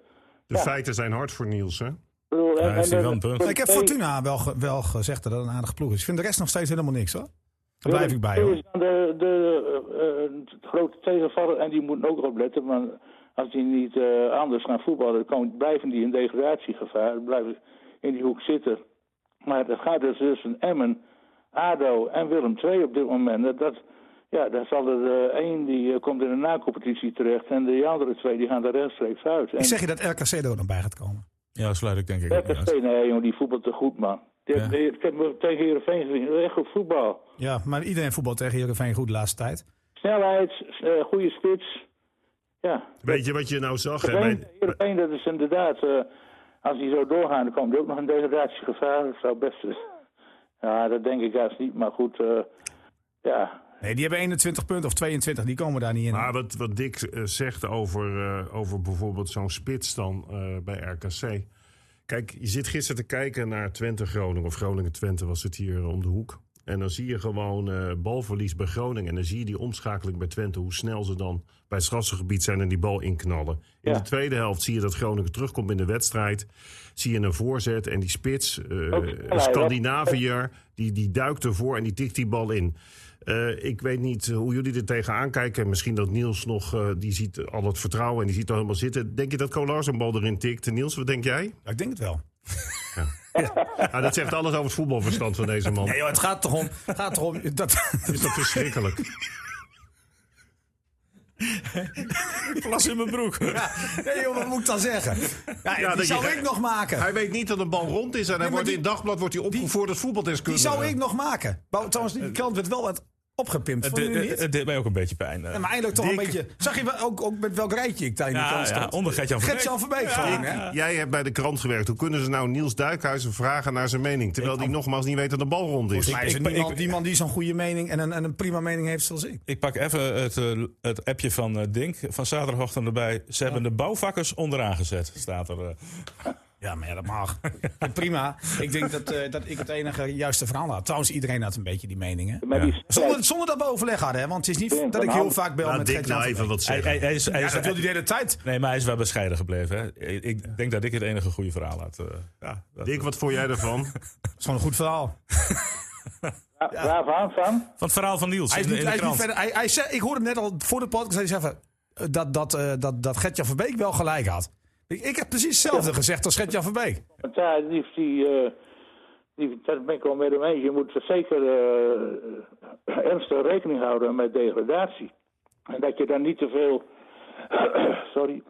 Speaker 5: De feiten zijn hard voor Niels, hè?
Speaker 3: Ik bedoel, en-
Speaker 2: hij heeft
Speaker 3: en-
Speaker 2: wel een punt.
Speaker 4: Maar ik heb Fortuna wel, ge- wel gezegd dat dat een aardige ploeg is. Ik vind de rest nog steeds helemaal niks, hoor. Daar blijf ik bij,
Speaker 3: Dit
Speaker 4: hoor.
Speaker 3: is dan De, de, eh, eh, de grote tegenvaller, en die moeten ook opletten, want als die niet eh, anders gaan voetballen, dan komen- blijven die in degradatiegevaar, dan blijven in die hoek zitten. Maar het gaat dus tussen Emmen, ADO en Willem II op dit moment. Dat, dat- ja, daar zal er eh, één die eh, komt in de nacompetitie terecht en de andere twee die gaan er rechtstreeks uit. En
Speaker 4: Ik zeg je dat RKC er ook nog bij gaat komen.
Speaker 2: Ja, dat sluit ik denk ik ook niet
Speaker 3: RKC,
Speaker 2: uit.
Speaker 3: nee eh, jongen, die voetbalt te goed man. Dit-
Speaker 2: Ja.
Speaker 3: dit- Ik heb me tegen Heerenveen gezien, echt goed voetbal.
Speaker 4: Ja, maar iedereen voetbalt tegen Heerenveen goed de laatste tijd.
Speaker 3: Snelheid, eh, goede spits. Ja,
Speaker 5: Weet je wat je nou zag? Hè?
Speaker 3: Heerenveen,
Speaker 5: Bij-
Speaker 3: Heerenveen, dat is inderdaad... eh, als die zo doorgaan, dan komt er ook nog een degradatiegevaar. Dat zou best... eh, Ja, dat denk ik juist niet, maar goed... eh, ja,
Speaker 4: Nee, die hebben 21 punten of 22. Die komen daar niet in.
Speaker 5: Maar wat, wat Dick eh, zegt over, eh, over bijvoorbeeld zo'n spits dan eh, bij RKC. Kijk, je zit gisteren te kijken naar Twente-Groningen. Of Groningen-Twente was het hier eh, om de hoek. En dan zie je gewoon eh, balverlies bij Groningen. En dan zie je die omschakeling bij Twente. Hoe snel ze dan bij het strafgebied zijn en die bal inknallen. In
Speaker 3: Ja.
Speaker 5: de tweede helft zie je dat Groningen terugkomt in de wedstrijd. Zie je een voorzet en die spits, eh, een Scandinaviër, die, die duikt ervoor en die tikt die bal in. Eh, ik weet niet hoe jullie er tegenaan kijken. Misschien dat Niels nog, eh, die ziet al het vertrouwen en die ziet al helemaal zitten. Denk je dat Kolar een bal erin tikt? Niels, wat denk jij?
Speaker 4: Ja, ik denk het wel.
Speaker 5: Ah, dat zegt alles over het voetbalverstand van deze man.
Speaker 4: Nee, joh, het gaat toch om, het gaat toch om dat,
Speaker 5: Is dat verschrikkelijk?
Speaker 2: Plas in mijn broek.
Speaker 4: Nee joh, wat moet ik dan zeggen? Ja,
Speaker 5: Ja,
Speaker 4: die
Speaker 5: dat
Speaker 4: zou
Speaker 5: je-
Speaker 4: ik nog maken.
Speaker 5: Hij weet niet dat een bal rond is en hij
Speaker 4: maar
Speaker 5: wordt
Speaker 4: die-
Speaker 5: in het dagblad wordt hij opgevoerd als
Speaker 4: Die
Speaker 5: voetbaldeskundige.
Speaker 4: zou ik nog maken. Maar trouwens, die klant werd wel wat opgepimpt.
Speaker 2: Het,
Speaker 4: Vond
Speaker 2: deed-
Speaker 4: je niet?
Speaker 2: het deed mij ook een beetje pijn. eh.
Speaker 4: Ja, maar eindelijk toch een
Speaker 5: Dick.
Speaker 4: beetje... Zag je wel- ook, ook met welk rijtje ik daar in die
Speaker 2: Ja,
Speaker 4: klant
Speaker 2: ja,
Speaker 4: stond?
Speaker 2: onder Gert-Jan van
Speaker 4: Gert-Jan
Speaker 2: Beek.
Speaker 4: van Beek gewoon, hè?
Speaker 5: Jij hebt bij de krant gewerkt. Hoe kunnen ze nou Niels Duikhuizen vragen naar zijn mening? Terwijl die nogmaals niet weet dat de bal rond is.
Speaker 4: Maar is er
Speaker 2: ik-
Speaker 4: niemand,
Speaker 2: ik-
Speaker 4: niemand die zo'n goede mening en een, en een prima mening heeft zoals ik?
Speaker 2: Ik pak even het, eh, het appje van eh, Dink van zaterdagochtend erbij. Ze hebben de bouwvakkers onderaan gezet, staat er. eh.
Speaker 4: Ja, maar ja, dat mag. Ja, prima. Ik denk dat, eh, dat ik het enige juiste verhaal had. Trouwens, iedereen had een beetje die meningen.
Speaker 3: maar die
Speaker 4: Zonder, zonder dat we overleg hadden, hè? Want het is niet
Speaker 3: Ja,
Speaker 4: dat ik
Speaker 3: nou,
Speaker 4: heel vaak bel
Speaker 5: Laat
Speaker 4: met
Speaker 5: Dick
Speaker 4: Gert-Jan
Speaker 5: nou
Speaker 4: van
Speaker 5: even
Speaker 4: Beek.
Speaker 5: wat
Speaker 2: Hij,
Speaker 5: zeggen.
Speaker 2: hij, hij is, hij
Speaker 4: Ja,
Speaker 2: is-
Speaker 4: dat wil hij de hele tijd.
Speaker 2: nee, maar hij is wel bescheiden gebleven. Hè? Ik, ik denk dat ik het enige goede verhaal had. eh. ja, dat-
Speaker 5: Dick, wat vond jij ervan?
Speaker 4: Dat is gewoon een goed verhaal.
Speaker 3: waar- waarvan van?
Speaker 2: Van het verhaal van Niels
Speaker 4: Hij is
Speaker 2: in,
Speaker 4: niet,
Speaker 2: in de
Speaker 4: hij is niet
Speaker 2: krant.
Speaker 4: verder. Hij, hij zei, ik hoorde hem net al voor de podcast. Hij zei van, eh, dat, dat, eh, dat, dat Gert-Jan van Beek wel gelijk had. Ik, ik heb precies hetzelfde gezegd als Gert-Jan van Beek.
Speaker 3: Want ja, die, die, eh, die, dat ben ik wel met hem eens. Je moet er zeker eh, ernstig rekening houden met degradatie. En dat je daar niet te veel sorry,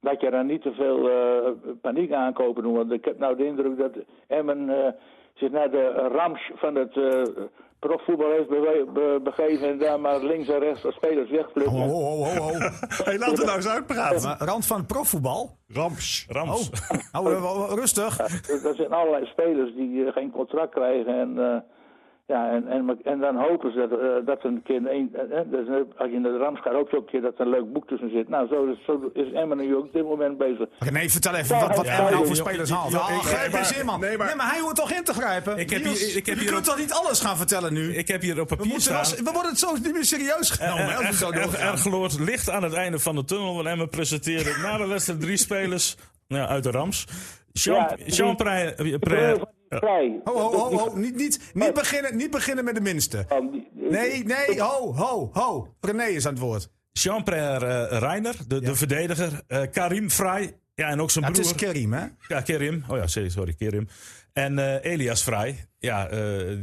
Speaker 3: dat je daar niet te veel eh, paniek aankopen doen. Want ik heb nou de indruk dat Emmen eh, zich naar de rams van het eh, profvoetbal heeft bewe- be- begeven en daar maar links en rechts als spelers wegplukken.
Speaker 4: Ho, ho, ho, ho.
Speaker 5: Hey, laat het nou eens uitpraten.
Speaker 4: Maar Rand van het profvoetbal?
Speaker 5: Ramps.
Speaker 2: Rams.
Speaker 4: Oh, eh, rustig.
Speaker 3: Dus dat zijn allerlei spelers die eh, geen contract krijgen. En, eh, ja, en, en, en dan hopen ze dat, eh, dat een keer... Een, eh, dus, eh, als je naar de Rams gaat, hoop je ook een keer dat er een leuk boek tussen zit. Nou, zo, is- zo is Emmen nu ook op dit moment bezig.
Speaker 4: René, vertel even wat, wat
Speaker 3: Ja,
Speaker 4: Emmen nou
Speaker 3: joh,
Speaker 4: voor
Speaker 2: joh,
Speaker 4: spelers
Speaker 2: joh,
Speaker 4: haalt.
Speaker 2: joh,
Speaker 4: Ah,
Speaker 2: ik-
Speaker 4: grijp
Speaker 2: nee,
Speaker 4: eens
Speaker 2: maar-
Speaker 4: in, man. Nee,
Speaker 2: nee,
Speaker 4: maar,
Speaker 2: maar-
Speaker 4: hij hoort toch in te grijpen?
Speaker 2: Ik heb
Speaker 4: Niels,
Speaker 2: hier- ik heb
Speaker 4: je
Speaker 2: hier
Speaker 4: kunt
Speaker 2: op-
Speaker 4: toch niet alles gaan vertellen nu?
Speaker 2: Ik heb hier op
Speaker 4: we,
Speaker 2: papier
Speaker 4: moeten
Speaker 2: staan. Eh,
Speaker 4: wel- we worden het zo niet meer serieus genomen. hè, als we zo
Speaker 2: Er, er,
Speaker 4: doorgaan.
Speaker 2: er gloort licht aan het einde van de tunnel. Want Emmen presenteerde na de wedstrijd drie spelers nou ja, uit de Rams. Jean,
Speaker 3: Ja,
Speaker 2: Jean Pre- eh, Pre-
Speaker 3: Vrij.
Speaker 4: Ho, ho, ho, ho. Niet,
Speaker 2: eh.
Speaker 4: niet, niet, beginnen, niet beginnen met de minste. Nee, nee, ho, ho, ho. René is aan het woord.
Speaker 2: Jean-Pierre eh, Reiner, de, de verdediger. eh, Karim Vrij. Ja, en ook zijn
Speaker 4: Ja, het
Speaker 2: broer.
Speaker 4: is Kerim, hè?
Speaker 2: Ja, Kerim. Oh ja, sorry, sorry Kerim. En eh, Elias Vrij. Ja, eh,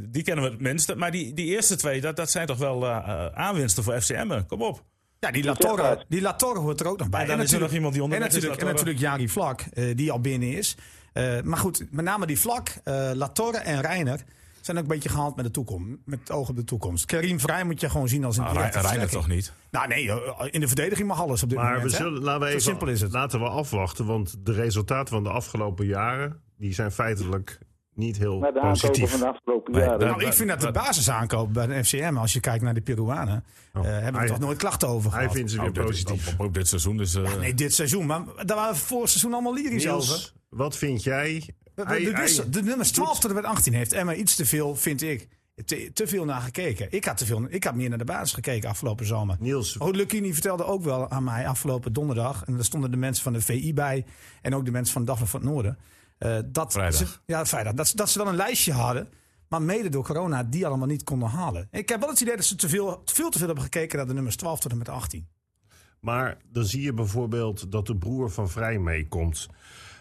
Speaker 2: die kennen we het minste. Maar die, die eerste twee, dat, dat zijn toch wel eh, eh, aanwinsten voor FCM. Kom op.
Speaker 4: Ja, die Latorre, die Latorre hoort er ook nog bij.
Speaker 2: En dan is er nog iemand die onder
Speaker 4: en
Speaker 2: is,
Speaker 4: natuurlijk, en
Speaker 2: Latorre.
Speaker 4: natuurlijk Jari Vlak, eh, die al binnen is. Eh, maar goed, met name die Vlak, eh Latorre en Reiner zijn ook een beetje gehaald met de toekomst. Met het oog op de toekomst. Karim Vrij moet je gewoon zien als een directe
Speaker 2: Ah, Reiner
Speaker 4: versterking.
Speaker 2: toch niet?
Speaker 4: Nou nee, eh, in de verdediging mag alles op dit
Speaker 5: Maar
Speaker 4: moment.
Speaker 5: we
Speaker 4: hè?
Speaker 5: zullen, laten we
Speaker 4: Zo
Speaker 5: even,
Speaker 4: simpel is het.
Speaker 5: Laten we afwachten, want de resultaten van de afgelopen jaren... die zijn feitelijk niet heel
Speaker 3: Met de aankopen
Speaker 5: positief.
Speaker 3: van de afgelopen
Speaker 2: Nee,
Speaker 3: jaren.
Speaker 2: daar-
Speaker 4: Nou, ik vind dat de basisaankoop bij de FCM, als je kijkt naar de Peruanen,
Speaker 2: Oh.
Speaker 4: eh, hebben we
Speaker 5: hij-
Speaker 4: toch nooit klachten over gehad.
Speaker 5: Hij vindt ze weer positief.
Speaker 2: Ook dit seizoen. Dus,
Speaker 4: Nee, dit seizoen, maar daar waren we vorig seizoen allemaal lyrisch over.
Speaker 5: Niels, wat vind jij?
Speaker 4: De, de,
Speaker 5: Hij-
Speaker 4: de, wissel-
Speaker 5: hij-
Speaker 4: de nummers 12 tot en met 18 heeft Emma iets te veel, vind ik, te, te veel naar gekeken. Ik had, te veel, ik had meer naar de basis gekeken afgelopen zomer.
Speaker 5: Niels,
Speaker 4: Oud Lucchini vertelde ook wel aan mij afgelopen donderdag, en daar stonden de mensen van de VI bij en ook de mensen van Dagblad van het Noorden. eh, dat
Speaker 2: Vrijdag.
Speaker 4: Ze, ja, vrijdag. Dat, ze- dat ze wel een lijstje hadden, maar mede door corona die allemaal niet konden halen. Ik heb wel het idee dat ze te veel, veel te veel hebben gekeken naar de nummers 12 tot en met 18.
Speaker 5: Maar dan zie je bijvoorbeeld dat de broer van Vrij meekomt.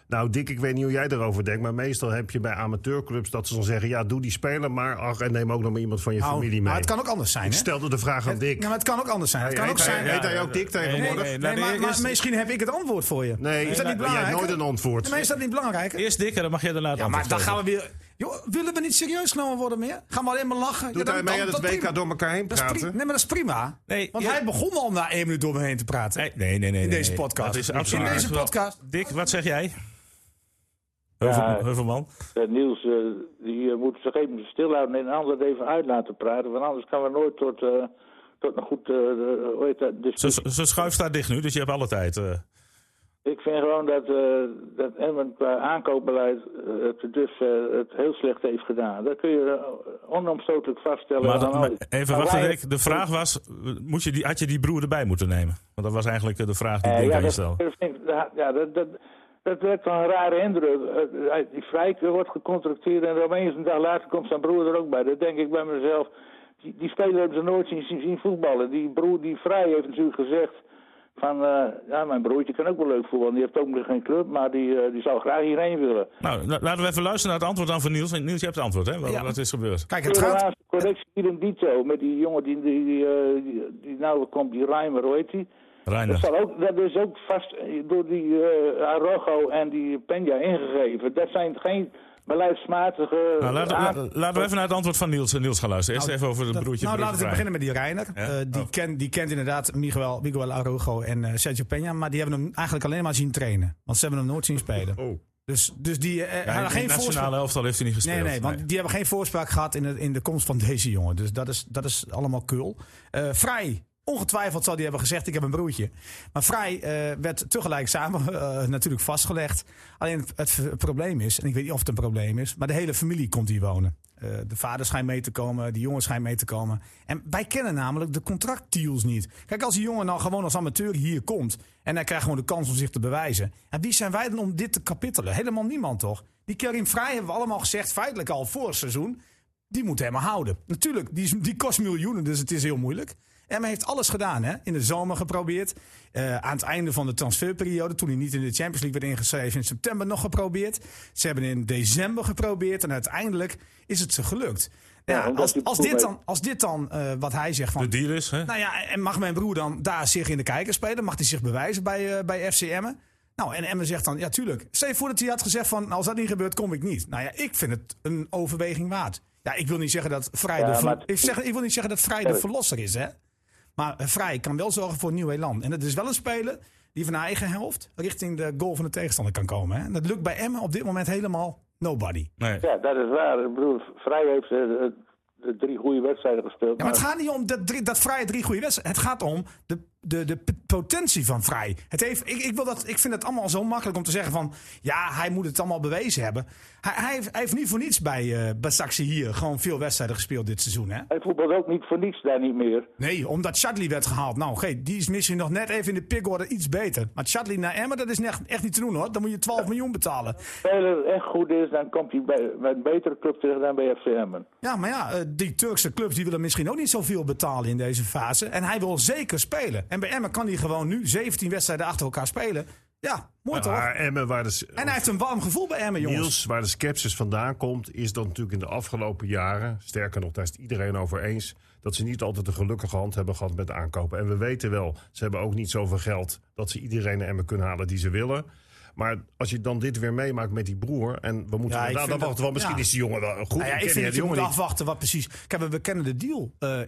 Speaker 5: Nou, Dick, ik weet niet hoe jij erover denkt, maar meestal heb je bij amateurclubs dat ze dan zeggen: ja, doe die speler maar. Ach, en neem ook nog maar iemand van je
Speaker 4: Nou,
Speaker 5: familie mee.
Speaker 4: maar het kan ook anders zijn.
Speaker 5: Ik
Speaker 4: hè?
Speaker 5: stelde de vraag aan
Speaker 4: Het- nou,
Speaker 5: Dick.
Speaker 4: Ja, maar het kan ook anders zijn. Het kan
Speaker 5: Hey,
Speaker 4: ook
Speaker 5: heet
Speaker 4: zijn.
Speaker 5: hij- heet hij ook Dick tegenwoordig?
Speaker 2: Nee,
Speaker 4: Nee, maar, maar
Speaker 2: eerst,
Speaker 4: misschien heb ik het antwoord voor je.
Speaker 5: Nee,
Speaker 4: is dat niet
Speaker 5: jij
Speaker 4: belangrijk?
Speaker 5: hebt nooit een antwoord.
Speaker 4: Nee, maar is dat niet belangrijk?
Speaker 2: eerst dik en dan mag je daarna het
Speaker 4: Ja, maar
Speaker 2: antwoord
Speaker 4: dan
Speaker 2: geven.
Speaker 4: gaan we weer. Joh, willen we niet serieus genomen worden meer? Gaan we alleen maar lachen?
Speaker 5: Doet
Speaker 4: Ja, dan-
Speaker 5: hij mee
Speaker 4: dan-
Speaker 5: aan het
Speaker 4: dat prima.
Speaker 5: WK door elkaar heen
Speaker 4: Dat is prima.
Speaker 5: praten?
Speaker 4: Nee, maar dat is prima.
Speaker 2: Nee,
Speaker 4: Want
Speaker 2: ja.
Speaker 4: hij begon al na één minuut door me heen te praten.
Speaker 2: Nee, nee, nee. nee, nee
Speaker 4: In deze
Speaker 2: nee.
Speaker 4: podcast.
Speaker 2: Dat is
Speaker 4: In
Speaker 2: absoluut
Speaker 4: deze
Speaker 2: niet zo.
Speaker 4: podcast.
Speaker 2: Dick, wat zeg jij?
Speaker 3: Ja.
Speaker 2: Heuvelman.
Speaker 3: Eh, Niels, eh, die eh, moet zich even stilhouden en een ander even uit laten praten. Want anders gaan we nooit tot, eh, tot een goed... eh, eh, hoe heet dat, discussie
Speaker 2: Zijn zijn schuif staat dicht nu, dus je hebt alle tijd. eh.
Speaker 3: Ik vind gewoon dat, eh dat Emmen qua aankoopbeleid eh, het dus eh, het heel slecht heeft gedaan. Dat kun je eh, onomstotelijk vaststellen.
Speaker 2: maar,
Speaker 3: aan
Speaker 2: dan- maar
Speaker 3: alles.
Speaker 2: even
Speaker 3: Maar
Speaker 2: wachten,
Speaker 3: wij-
Speaker 2: Rick. De vraag was, eh, moet je die, had je die broer erbij moeten nemen? Want dat was eigenlijk eh, de vraag die
Speaker 3: Eh,
Speaker 2: Dick
Speaker 3: ja,
Speaker 2: aan je
Speaker 3: dat,
Speaker 2: stelde.
Speaker 3: dat vind ik- ja, ja, dat, dat, dat werd wel een rare indruk. Eh, die Vrijk wordt gecontracteerd en opeens een dag later komt zijn broer er ook bij. Dat denk ik bij mezelf. Die, die speler hebben ze nooit zien, zien, zien voetballen. Die broer, die Vrij, heeft natuurlijk gezegd van... eh, ja, mijn broertje kan ook wel leuk voetballen. Die heeft ook nog geen club, maar die, eh, die zou graag hierheen willen.
Speaker 2: Nou, la- laten we even luisteren naar het antwoord dan van Niels. Want Niels, je hebt het antwoord, hè? Wat,
Speaker 4: Ja.
Speaker 2: wat is gebeurd?
Speaker 4: Kijk, het gaat.
Speaker 3: Helaas, correctie hier in dito met die jongen die, die, die, eh, die, die nou komt, die Reimer, hoe heet die? Dat,
Speaker 2: Reiner.
Speaker 3: zal ook, dat is ook vast eh, door die eh Arrojo en die Peña ingegeven. Dat zijn geen beleidsmatige...
Speaker 2: Nou, laten,
Speaker 3: aan-
Speaker 2: la- laten we even naar het antwoord van Niels, eh, Niels gaan luisteren. Eerst even over de
Speaker 4: dat-
Speaker 2: broertje.
Speaker 4: nou,
Speaker 2: broertje
Speaker 4: laten we
Speaker 2: Vrij.
Speaker 4: beginnen met die Reiner.
Speaker 2: Ja?
Speaker 4: Eh, die,
Speaker 2: Oh.
Speaker 4: kent- die kent inderdaad Miguel, Miguel Araujo en eh, Sergio Peña. Maar die hebben hem eigenlijk alleen maar zien trainen. Want ze hebben hem nooit zien spelen.
Speaker 5: Oh.
Speaker 4: Dus, dus die eh,
Speaker 2: Ja, in
Speaker 4: hadden
Speaker 2: het
Speaker 4: geen voorspraak.
Speaker 2: nationale elftal heeft hij niet gespeeld.
Speaker 4: Nee, nee, want die hebben geen voorspraak gehad in de, in de komst van deze jongen. Dus dat is, dat is allemaal kul. Eh Vrij, ongetwijfeld zal die hebben gezegd: Ik heb een broertje. Maar Vrij eh, werd tegelijk samen eh, natuurlijk vastgelegd. Alleen het, het v- probleem is, en ik weet niet of het een probleem is, maar de hele familie komt hier wonen. Eh, de vader schijnt mee te komen, de jongen schijnt mee te komen. En wij kennen namelijk de contractdeals niet. Kijk, als die jongen nou gewoon als amateur hier komt en hij krijgt gewoon de kans om zich te bewijzen. En wie zijn wij dan om dit te kapittelen? Helemaal niemand toch? Die Karim Vrij hebben we allemaal gezegd, feitelijk al voor het seizoen. Die moet hem houden. Natuurlijk, die, is- die kost miljoenen, dus het is heel moeilijk. En hij heeft alles gedaan. Hè? In de zomer geprobeerd. Eh, aan het einde van de transferperiode, toen hij niet in de Champions League werd ingeschreven, in september nog geprobeerd. Ze hebben in december geprobeerd. En uiteindelijk is het ze gelukt. Ja,
Speaker 3: omdat
Speaker 4: als,
Speaker 3: hij
Speaker 4: als
Speaker 3: goed
Speaker 4: dit
Speaker 3: weet-
Speaker 4: dan, als dit dan eh, wat hij zegt van
Speaker 2: De deal is, hè?
Speaker 4: nou ja, en mag mijn broer dan daar zich in de kijker spelen? Mag hij zich bewijzen bij, eh, bij FC Emmen? Nou, en Emmen zegt dan, ja tuurlijk. Stel je voor dat hij had gezegd van, nou, als dat niet gebeurt, kom ik niet. Nou ja, ik vind het een overweging waard. Ja, ik wil niet zeggen dat Vrij,
Speaker 3: Ja,
Speaker 4: de, ver-
Speaker 3: maar-
Speaker 4: ik zeg, ik wil niet zeggen dat vrij de verlosser is, hè. Maar eh, Vrij kan wel zorgen voor een nieuw elan. En dat is wel een speler die van eigen helft richting de goal van de tegenstander kan komen. Hè? En dat lukt bij Emmen op dit moment helemaal nobody.
Speaker 2: Nee.
Speaker 3: Ja, dat is waar. Ik bedoel, Vrij heeft eh, de, de drie goede wedstrijden gespeeld.
Speaker 4: Ja, maar het gaat niet om dat, drie, dat Vrij drie goede wedstrijden. Het gaat om de, de, de p- potentie van Vrij. Het heeft, ik, ik, wil dat, ik vind het allemaal zo makkelijk om te zeggen van... ja, hij moet het allemaal bewezen hebben. Hij, hij, heeft, hij heeft niet voor niets bij, eh bij Saxe hier gewoon veel wedstrijden gespeeld dit seizoen. Hè?
Speaker 3: Hij voetbalt ook niet voor niets daar niet meer.
Speaker 4: Nee, omdat Chadli werd gehaald. Nou, oké, die is misschien nog net even in de pickorder iets beter. Maar Chadli naar Emmen, dat is echt, echt niet te doen hoor. Dan moet je 12 miljoen betalen.
Speaker 3: speler echt goed is, dan komt hij bij, bij een betere club terecht dan bij FC Emmen.
Speaker 4: Ja, maar ja, eh, die Turkse clubs die willen misschien ook niet zoveel betalen in deze fase. En hij wil zeker spelen. En bij Emmen kan hij gewoon nu 17 wedstrijden achter elkaar spelen. Ja, mooi toch?
Speaker 5: Maar Emmen, waar de, s-
Speaker 4: En hij heeft een warm gevoel bij Emmen, jongens.
Speaker 5: Niels, waar de scepsis vandaan komt, is dat natuurlijk in de afgelopen jaren, sterker nog, daar is het iedereen over eens, dat ze niet altijd een gelukkige hand hebben gehad met aankopen. En we weten wel, ze hebben ook niet zoveel geld dat ze iedereen naar Emmen kunnen halen die ze willen. Maar als je dan dit weer meemaakt met die broer, en we moeten
Speaker 4: Ja, ik
Speaker 5: inderdaad
Speaker 4: vind
Speaker 5: afwachten,
Speaker 4: dat-
Speaker 5: want misschien
Speaker 4: ja.
Speaker 5: is die jongen wel goed.
Speaker 4: Nou ja,
Speaker 5: ik
Speaker 4: ik
Speaker 5: ken
Speaker 4: vind dat
Speaker 5: die
Speaker 4: je moet
Speaker 5: jongen niet.
Speaker 4: afwachten wat precies... Kijk, we- we kennen de deal eh,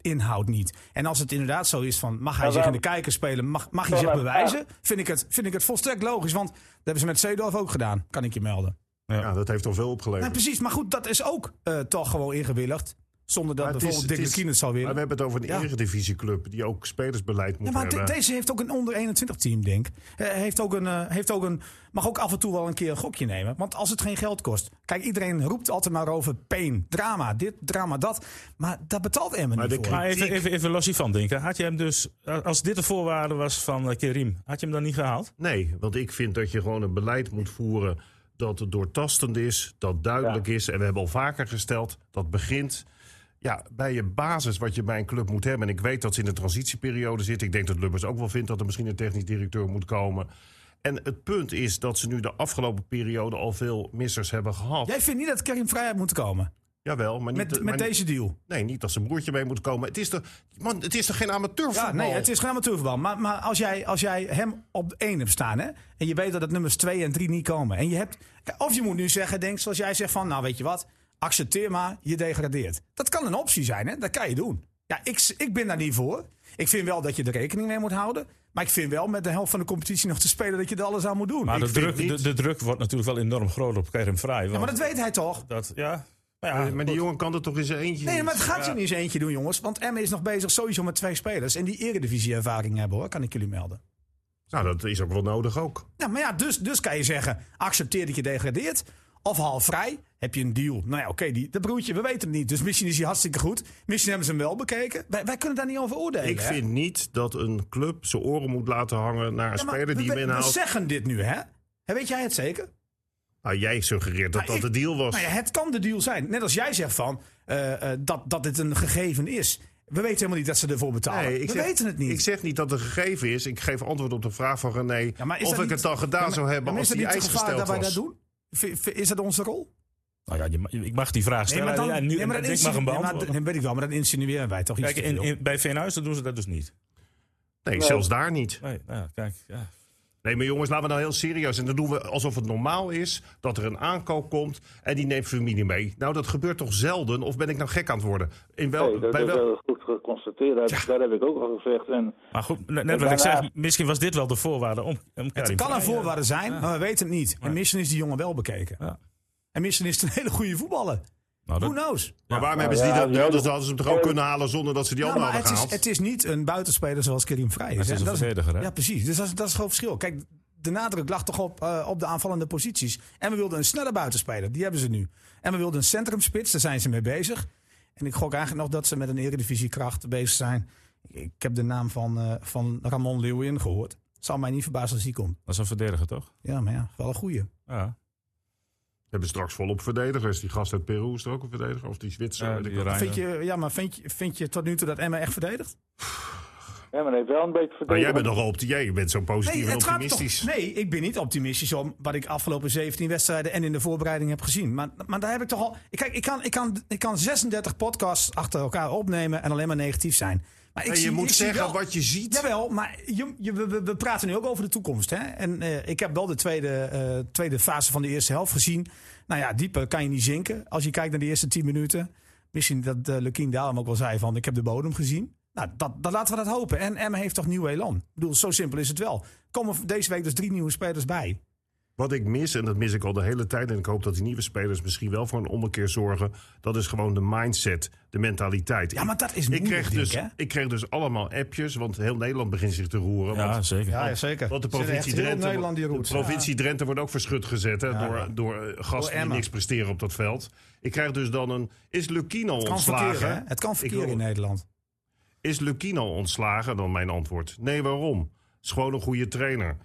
Speaker 4: inhoud niet. En als het inderdaad zo is van... mag hij
Speaker 3: Maar
Speaker 4: zich in de
Speaker 3: waarom-
Speaker 4: kijker spelen? Mag, mag hij zich
Speaker 3: Vanuit-
Speaker 4: bewijzen? Vind ik, het, vind ik het volstrekt logisch. Want dat hebben ze met Zeedorf ook gedaan, kan ik je melden.
Speaker 5: Ja, dat heeft al veel
Speaker 4: Nee,
Speaker 5: opgeleverd.
Speaker 4: precies, maar goed, dat is ook eh, toch gewoon ingewilligd. Zonder dat
Speaker 5: Maar het is-
Speaker 4: bijvoorbeeld
Speaker 5: het
Speaker 4: Dick
Speaker 5: is-
Speaker 4: Lukien het zou willen.
Speaker 5: Maar we hebben het over een
Speaker 4: Ja.
Speaker 5: eredivisieclub die ook spelersbeleid moet
Speaker 4: Ja, maar de-
Speaker 5: hebben.
Speaker 4: deze heeft ook een onder 21 team, denk ik. Eh, heeft ook een, eh, heeft ook een, mag ook af en toe wel een keer een gokje nemen. Want als het geen geld kost. Kijk, iedereen roept altijd maar over pain, drama, dit, drama, dat. Maar dat betaalt Emmen
Speaker 5: Maar
Speaker 4: niet
Speaker 5: de
Speaker 4: voor.
Speaker 2: Maar even, even, even los hiervan denken. Had je hem dus, als dit de voorwaarde was van eh, Kerim, had je hem dan niet gehaald?
Speaker 5: Nee, want ik vind dat je gewoon een beleid moet voeren dat het doortastend is, dat duidelijk is. En we hebben al vaker gesteld, dat begint ja, bij je basis wat je bij een club moet hebben. En ik weet dat ze in de transitieperiode zitten. Ik denk dat Lubbers ook wel vindt dat er misschien een technisch directeur moet komen. En het punt is dat ze nu de afgelopen periode al veel missers hebben gehad.
Speaker 4: Jij vindt niet dat Karim Vrijheid moet komen?
Speaker 5: Jawel, maar niet,
Speaker 4: Met,
Speaker 5: maar
Speaker 4: met
Speaker 5: niet-
Speaker 4: deze deal?
Speaker 5: Nee, niet dat zijn broertje mee moet komen. Het is toch, man, het is toch geen amateurvoetbal?
Speaker 4: Ja, nee, het is geen amateurverband. Maar, maar als, jij, als jij hem op één hebt staan, hè, en je weet dat het nummers 2 en 3 niet komen. En je hebt, Kijk, of je moet nu zeggen, denk zoals jij zegt van, nou weet je wat, accepteer maar, je degradeert. Dat kan een optie zijn, hè? dat kan je doen. Ja, ik, s- ik ben daar niet voor. Ik vind wel dat je er rekening mee moet houden. Maar ik vind wel met de helft van de competitie nog te spelen dat je er alles aan moet doen.
Speaker 2: Maar
Speaker 4: Ik-
Speaker 2: de
Speaker 4: ja,
Speaker 2: druk,
Speaker 5: niet.
Speaker 2: de, de druk wordt natuurlijk wel enorm groot op Kerim Vrij.
Speaker 4: maar dat weet hij toch?
Speaker 2: dat, ja. Maar ja,
Speaker 5: Eh, maar die jongen kan dat toch in zijn eentje
Speaker 4: Nee,
Speaker 5: niet?
Speaker 4: maar het gaat zo niet eens eentje doen, jongens. Want Emmen is nog bezig sowieso met twee spelers. En die eredivisie-ervaring hebben, hoor, kan ik jullie melden.
Speaker 5: Nou, dat is ook wel nodig ook.
Speaker 4: Ja, maar ja, dus, dus kan je zeggen, accepteer dat je degradeert. Of haal vrij, heb je een deal. Nou ja, oké, die dat broertje, we weten het niet. Dus misschien is hij hartstikke goed. Misschien hebben ze hem wel bekeken. Wij, wij kunnen daar niet over oordelen.
Speaker 5: Ik
Speaker 4: hè?
Speaker 5: vind niet dat een club zijn oren moet laten hangen naar een
Speaker 4: Ja, maar
Speaker 5: speler die
Speaker 4: we,
Speaker 5: hem
Speaker 4: we, we
Speaker 5: inhaalt.
Speaker 4: zeggen dit nu, hè? Hè, Weet jij het zeker?
Speaker 5: Nou, jij suggereert
Speaker 4: Nou,
Speaker 5: dat dat
Speaker 4: ik-
Speaker 5: de deal was.
Speaker 4: Nou ja, het kan de deal zijn. Net als jij zegt van, eh, eh, dat, dat dit een gegeven is. We weten helemaal niet dat ze ervoor betalen.
Speaker 5: Nee,
Speaker 4: we weten het niet.
Speaker 5: Ik zeg niet dat het gegeven is. Ik geef antwoord op de vraag van René
Speaker 4: Ja, maar is
Speaker 5: of
Speaker 4: dat
Speaker 5: ik
Speaker 4: niet-
Speaker 5: het dan gedaan
Speaker 4: Ja, maar-
Speaker 5: zou
Speaker 4: ja,
Speaker 5: hebben
Speaker 4: maar
Speaker 5: als die eis
Speaker 4: Is dat niet
Speaker 5: gesteld
Speaker 4: het gevaar dat wij dat
Speaker 5: was.
Speaker 4: doen? V- v- Is dat onze rol?
Speaker 2: Nou ja, je ma- ik mag die vraag stellen.
Speaker 4: dan,
Speaker 2: ja, nu,
Speaker 4: maar
Speaker 2: ik
Speaker 4: dat
Speaker 2: mag hem
Speaker 4: insinu- nee, maar
Speaker 2: beantwoorden.
Speaker 4: dat- dat weet ik wel, maar dat insinueren wij toch iets
Speaker 2: Kijk,
Speaker 4: te
Speaker 2: in,
Speaker 4: veel.
Speaker 2: in- bij Veenhuizen doen ze dat dus niet.
Speaker 5: Nee, zelfs daar niet.
Speaker 2: Nee, nou, ja, kijk, ja.
Speaker 5: Nee, maar jongens, laten we nou heel serieus. En dan doen we alsof het normaal is dat er een aankoop komt en die neemt familie mee. Nou, dat gebeurt toch zelden? Of ben ik nou gek aan het worden? In wel,
Speaker 3: Nee, dat
Speaker 5: Oh, bij
Speaker 3: is
Speaker 5: wel,
Speaker 3: wel goed geconstateerd. Dat, dat heb ik ook al gezegd. En
Speaker 2: Maar goed, net net
Speaker 3: En
Speaker 2: wat ik
Speaker 3: daarna-
Speaker 2: zeg, misschien was dit wel de voorwaarde om, om
Speaker 4: eh, Het
Speaker 2: Kerim
Speaker 4: kan
Speaker 2: Vrij,
Speaker 4: een voorwaarde zijn, maar we weten het niet. En
Speaker 2: Ja.
Speaker 4: misschien is die jongen wel bekeken.
Speaker 2: Ja.
Speaker 4: En misschien is het een hele goede voetballer.
Speaker 2: Nou,
Speaker 4: Who
Speaker 2: dat,
Speaker 4: knows?
Speaker 5: maar waarom hebben ze die
Speaker 3: ja,
Speaker 5: dat?
Speaker 3: die
Speaker 5: Nou,
Speaker 3: hadden-
Speaker 5: dus dan hadden ze hem toch ook kunnen halen zonder dat ze die
Speaker 4: Eh, Ja,
Speaker 5: ander
Speaker 4: maar
Speaker 5: hadden
Speaker 4: het is,
Speaker 5: gehaald.
Speaker 4: het is niet een buitenspeler zoals Kerim Vrij is.
Speaker 2: het is
Speaker 4: hè.
Speaker 2: een
Speaker 4: Dat
Speaker 2: verdediger, hè?
Speaker 4: Ja, precies. Dus dat is, dat is het groot verschil. Kijk, de nadruk lag toch op, eh, op de aanvallende posities. En we wilden een snelle buitenspeler. Die hebben ze nu. En we wilden een centrumspits. Daar zijn ze mee bezig. En ik gok eigenlijk nog dat ze met een eredivisiekracht bezig zijn. Ik heb de naam van, eh, van Ramon Leeuwen gehoord. Zal mij niet verbazen als die komt.
Speaker 2: dat is een verdediger, toch?
Speaker 4: Ja, maar ja, wel een goeie.
Speaker 2: Ja.
Speaker 5: hebben straks volop verdedigers. Die gast uit Peru is er ook een verdediger. Of die Zwitser.
Speaker 2: Ja,
Speaker 5: weet ik
Speaker 2: Eh, die
Speaker 5: wat.
Speaker 2: Reiner.
Speaker 4: Vind je, ja, maar vind je, vind je tot nu toe dat Emma echt verdedigt?
Speaker 3: Ja, maar hij heeft wel een beetje
Speaker 5: Maar
Speaker 3: verdedigd.
Speaker 5: jij bent, nog op, jij bent zo positief en
Speaker 4: het gaat
Speaker 5: optimistisch.
Speaker 4: toch- nee, ik ben niet optimistisch om wat ik afgelopen 17 wedstrijden en in de voorbereiding heb gezien. Maar, maar daar heb ik toch al. Kijk, ik kan, ik, kan, ik kan 36 podcasts achter elkaar opnemen en alleen maar negatief zijn. Maar ik
Speaker 5: En je
Speaker 4: zie-
Speaker 5: moet
Speaker 4: ik zie
Speaker 5: zeggen
Speaker 4: wel-
Speaker 5: wat je ziet.
Speaker 4: Jawel, maar je, je- we, we- we praten nu ook over de toekomst. Hè? En eh, ik heb wel de tweede, eh, tweede fase van de eerste helft gezien. Nou ja, dieper kan je niet zinken. Als je kijkt naar de eerste 10 minuten. Misschien dat eh Lukien Dalem ook wel zei van ik heb de bodem gezien. Nou, dat, dan laten we dat hopen. En Emma heeft toch nieuw elan. Ik bedoel, zo simpel is het wel. Er Komen deze week dus drie nieuwe spelers bij.
Speaker 5: Wat ik mis, en dat mis ik al de hele tijd... en ik hoop dat die nieuwe spelers misschien wel voor een ommekeer zorgen... dat is gewoon de mindset, de mentaliteit.
Speaker 4: Ja, maar dat is
Speaker 5: ik
Speaker 4: moeilijk,
Speaker 5: kreeg,
Speaker 4: denk
Speaker 5: dus,
Speaker 4: ik, hè?
Speaker 5: ik kreeg dus allemaal appjes, want heel Nederland begint zich te roeren.
Speaker 2: Ja,
Speaker 5: want,
Speaker 2: zeker.
Speaker 4: Ja, zeker.
Speaker 5: want de provincie, Drenthe, de provincie Drenthe wordt ook verschut gezet hè, door, door eh,
Speaker 4: Door
Speaker 5: gasten die
Speaker 4: Emma.
Speaker 5: niks presteren op dat veld. Ik krijg dus dan een... Is Lukino
Speaker 4: Het kan verkeren, hè?
Speaker 5: ontslagen?
Speaker 4: Het kan verkeren
Speaker 5: wil-
Speaker 4: in Nederland.
Speaker 5: Is Lukino ontslagen? Dan mijn antwoord. Nee, waarom? Het is gewoon een goede trainer.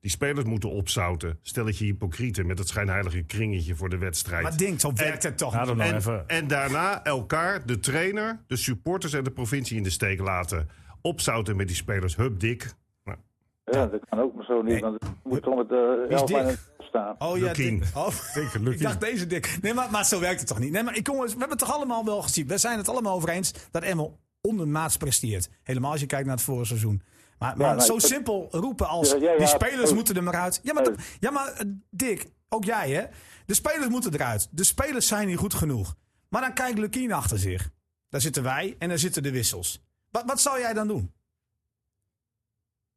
Speaker 5: Die spelers moeten opzouten. Stelletje hypocrieten met dat schijnheilige kringetje voor de wedstrijd.
Speaker 4: Maar denk, zo werkt het toch
Speaker 2: Ja,
Speaker 4: niet.
Speaker 2: dan nou even.
Speaker 5: en, en daarna elkaar, de trainer, de supporters en de provincie in de steek laten. Opzouten met die spelers. Hup dik. Nou,
Speaker 3: Ja, dat kan ook maar zo niet. Want het moet om het eh
Speaker 4: Wie is
Speaker 3: elf aan
Speaker 4: Dick?
Speaker 3: het staan.
Speaker 4: Oh ja,
Speaker 5: Lukien.
Speaker 4: Dick. Oh, ik dacht deze dik. Nee, maar, maar zo werkt het toch niet. Nee, maar ik, jongens, we hebben het toch allemaal wel gezien. We zijn het allemaal over eens dat Emmel ondermaats presteert. Helemaal als je kijkt naar het vorige seizoen. Maar, maar
Speaker 3: maar
Speaker 4: zo
Speaker 3: nou, ik-
Speaker 4: simpel roepen als
Speaker 3: Ja, ja, ja,
Speaker 4: die
Speaker 3: het-
Speaker 4: spelers moeten er maar uit. Ja, maar, dat-
Speaker 3: Nee.
Speaker 4: ja, maar eh, Dick, ook jij hè. De spelers moeten eruit. De spelers zijn niet goed genoeg. Maar dan kijkt Lukien achter zich. Daar zitten wij en daar zitten de wissels. Wat, wat zou jij dan doen?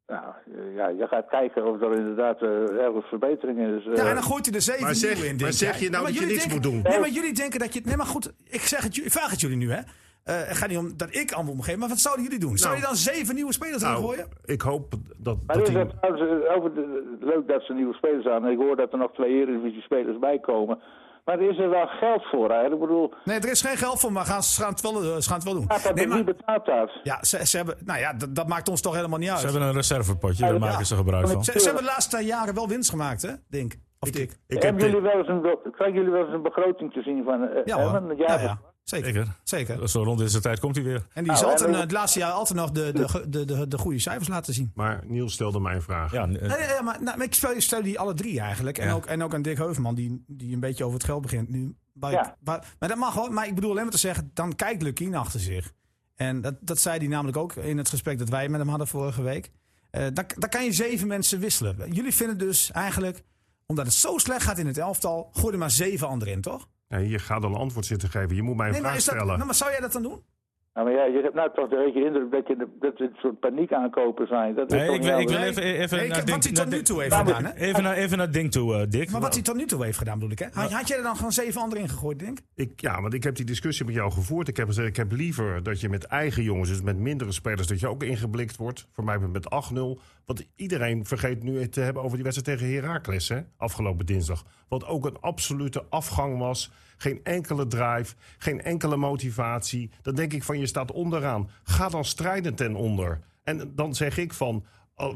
Speaker 3: Nou, eh, ja, je gaat kijken of er inderdaad eh, ergens verbetering is. eh.
Speaker 4: Ja, en dan gooit hij er zeven
Speaker 5: Maar zeg-
Speaker 4: nieuwe in.
Speaker 5: maar
Speaker 4: denk
Speaker 5: zeg
Speaker 4: jij.
Speaker 5: je nou
Speaker 4: Ja, maar
Speaker 5: dat je
Speaker 4: jullie
Speaker 5: niks
Speaker 4: denken-
Speaker 5: moet doen?
Speaker 4: Nee, maar jullie denken dat je... Nee, maar goed, ik, zeg het, ju- ik vraag het jullie nu, hè. Eh, het gaat niet om dat ik allemaal omgeef, maar wat zouden jullie doen? Zou
Speaker 5: Nou.
Speaker 4: je dan zeven nieuwe spelers erin
Speaker 5: nou
Speaker 4: gooien?
Speaker 5: ik hoop dat,
Speaker 3: Maar
Speaker 5: dat
Speaker 3: is
Speaker 5: die...
Speaker 3: dat trouwens, eh, over de- leuk dat ze nieuwe spelers aan. Ik hoor dat er nog twee Eredivisie spelers bij komen. Maar is er wel geld voor eigenlijk? Ik bedoel,
Speaker 4: Nee, er is geen geld voor, maar gaan, ze gaan het wel, eh, ze gaan het wel doen.
Speaker 3: gaat dat
Speaker 4: Nee,
Speaker 3: nee,
Speaker 4: maar,
Speaker 3: niet betaald had?
Speaker 4: ja, ze, ze hebben... Nou ja, dat, dat maakt ons toch helemaal niet uit.
Speaker 2: Ze
Speaker 4: Ze,
Speaker 2: hebben een reservepotje, daar maken ze gebruik van.
Speaker 4: ze hebben de laatste jaren wel winst gemaakt, hè, Dink? Of Dick?
Speaker 5: Ik heb
Speaker 3: Hebben
Speaker 5: dit-
Speaker 3: jullie wel eens een, be- krijgen jullie wel eens een begroting te zien van eh
Speaker 4: Ja,
Speaker 3: Emmen?
Speaker 4: hoor. Ja, ja. Zeker.
Speaker 2: Zeker.
Speaker 4: Zeker.
Speaker 2: Zo rond deze tijd komt hij weer.
Speaker 4: En die is
Speaker 3: Nou,
Speaker 4: altijd,
Speaker 3: en-
Speaker 4: eh, het laatste jaar altijd nog de, de, de, de, de goede cijfers laten zien.
Speaker 5: Maar Niels stelde mij een vraag.
Speaker 2: Ja, eh,
Speaker 4: Ja, ja, ja, maar, nou, maar ik stel, ik stel die alle drie eigenlijk. En,
Speaker 2: Ja.
Speaker 4: ook, en ook aan Dick Heuvelman, die, die een beetje over het geld begint nu. Maar,
Speaker 3: Ja.
Speaker 4: maar, maar dat mag wel. Maar ik bedoel alleen maar te zeggen, dan kijkt Lukien achter zich. En dat, dat zei hij namelijk ook in het gesprek dat wij met hem hadden vorige week. Eh dan, dan kan je zeven mensen wisselen. Jullie vinden dus eigenlijk, omdat het zo slecht gaat in het elftal, gooi er maar zeven anderen in, toch?
Speaker 5: Nee, je gaat al een antwoord zitten geven. Je moet mij een
Speaker 4: Nee, maar,
Speaker 5: vraag
Speaker 4: is dat,
Speaker 5: stellen.
Speaker 4: nou, maar zou jij dat dan doen?
Speaker 3: Nou, maar ja, je hebt nou toch een beetje indruk dat, je, de- dat het een soort paniek aankopen zijn. Dat is
Speaker 2: Nee,
Speaker 3: toch nou
Speaker 2: ik
Speaker 3: niet
Speaker 2: wil, ik
Speaker 3: anders?
Speaker 2: wil even, even
Speaker 4: Nee, ik-
Speaker 2: naar
Speaker 4: wat
Speaker 2: Dink-
Speaker 4: hij
Speaker 2: naar
Speaker 4: tot nu
Speaker 2: Dink-
Speaker 4: toe heeft gedaan, hè?
Speaker 2: Even naar, even naar Dink toe, eh, Dick.
Speaker 4: Maar wat hij tot nu toe heeft gedaan, bedoel ik, hè? Had, had jij er dan gewoon zeven anderen in gegooid, denk ik?
Speaker 5: Ik, ja, want ik heb die discussie met jou gevoerd. Ik heb gezegd, ik heb liever dat je met eigen jongens, dus met mindere spelers, dat je ook ingeblikt wordt. Voor mij met 8-0. Want iedereen vergeet nu het te hebben over die wedstrijd tegen Heracles, hè? Afgelopen dinsdag. Wat ook een absolute afgang was. Geen enkele drive, geen enkele motivatie. Dan denk ik van, je staat onderaan. Ga dan strijden ten onder. En dan zeg ik van,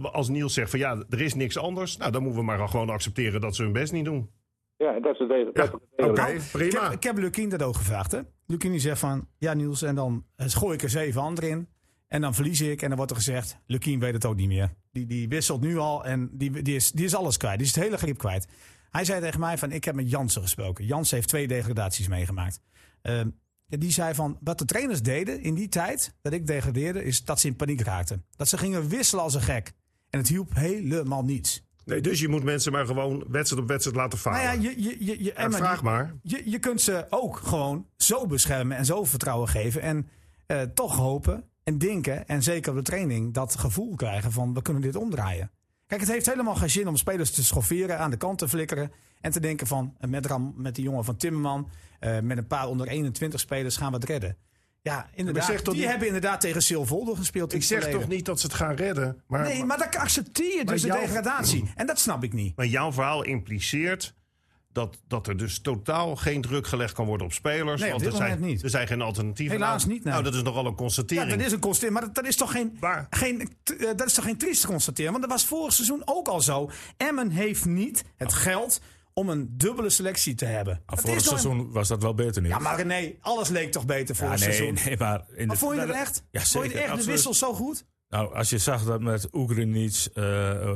Speaker 5: als Niels zegt van ja, er is niks anders. Nou, dan moeten we maar gewoon accepteren dat ze hun best niet doen.
Speaker 3: Ja, dat is het hele.
Speaker 5: Ja,
Speaker 3: dat is het hele.
Speaker 5: oké.
Speaker 4: Nou,
Speaker 5: prima.
Speaker 4: Ik heb, ik heb Lukien dat ook gevraagd. Hè? Lukien die zegt van, ja Niels, en dan eh, gooi ik er zeven anderen in. En dan verlies ik en dan wordt er gezegd, Lukien weet het ook niet meer. Die, die wisselt nu al en die, die, is, die is alles kwijt. Die is het hele griep kwijt. Hij zei tegen mij van, ik heb met Jansen gesproken. Jansen heeft twee degradaties meegemaakt. Ehm, en die zei van, wat de trainers deden in die tijd dat ik degradeerde, is dat ze in paniek raakten. Dat ze gingen wisselen als een gek. En het hielp helemaal niets.
Speaker 5: Nee, dus je moet mensen maar gewoon wedstrijd op wedstrijd laten falen.
Speaker 4: Nou ja, je, je, je, je, Emma,
Speaker 5: Ah. vraag
Speaker 4: die-
Speaker 5: maar.
Speaker 4: Je, je kunt ze ook gewoon zo beschermen en zo vertrouwen geven. En eh, toch hopen en denken. En zeker op de training dat gevoel krijgen van we kunnen dit omdraaien. Kijk, het heeft helemaal geen zin om spelers te schofferen, aan de kant te flikkeren. En te denken van eh, met, Ram, met die jongen van Timmerman, eh, met een paar onder 21 spelers gaan we het redden. Ja, inderdaad.
Speaker 5: zeg toch
Speaker 4: die
Speaker 5: niet-
Speaker 4: hebben inderdaad tegen Silvolde gespeeld. in
Speaker 5: Ik
Speaker 4: het
Speaker 5: zeg
Speaker 4: verleden.
Speaker 5: toch niet dat ze het gaan redden. Maar,
Speaker 4: Nee, maar dan accepteer je dus de
Speaker 5: jouw-
Speaker 4: degradatie. En dat snap ik niet.
Speaker 5: maar jouw verhaal impliceert dat, dat er dus totaal geen druk gelegd kan worden op spelers.
Speaker 4: Nee, op
Speaker 5: want
Speaker 4: dit
Speaker 5: er zijn,
Speaker 4: moment niet.
Speaker 5: Er zijn geen alternatieven.
Speaker 4: Helaas
Speaker 5: Nou,
Speaker 4: niet, nee.
Speaker 5: Nou, dat is nogal een
Speaker 4: Ja,
Speaker 5: constatering.
Speaker 4: dat is een constatering. Maar dat, dat is toch geen,
Speaker 5: Waar?
Speaker 4: geen, t- eh, dat is toch geen triest constateren? Want dat was vorig seizoen ook al zo. Emmen heeft niet het geld om een dubbele selectie te hebben.
Speaker 2: Maar
Speaker 4: Het
Speaker 2: Ah, vorig
Speaker 4: is nou-
Speaker 2: seizoen was dat wel beter nu.
Speaker 4: Ja, maar René, alles leek toch beter voor
Speaker 2: Ja,
Speaker 4: het
Speaker 2: nee,
Speaker 4: seizoen.
Speaker 2: nee, maar... In
Speaker 4: Maar
Speaker 2: de-
Speaker 4: vond je het echt?
Speaker 2: Ja,
Speaker 4: vond je
Speaker 2: zeker,
Speaker 4: het echt Dus de
Speaker 2: absoluut.
Speaker 4: wissel zo goed?
Speaker 2: Nou, als je zag dat met Oegrinic, eh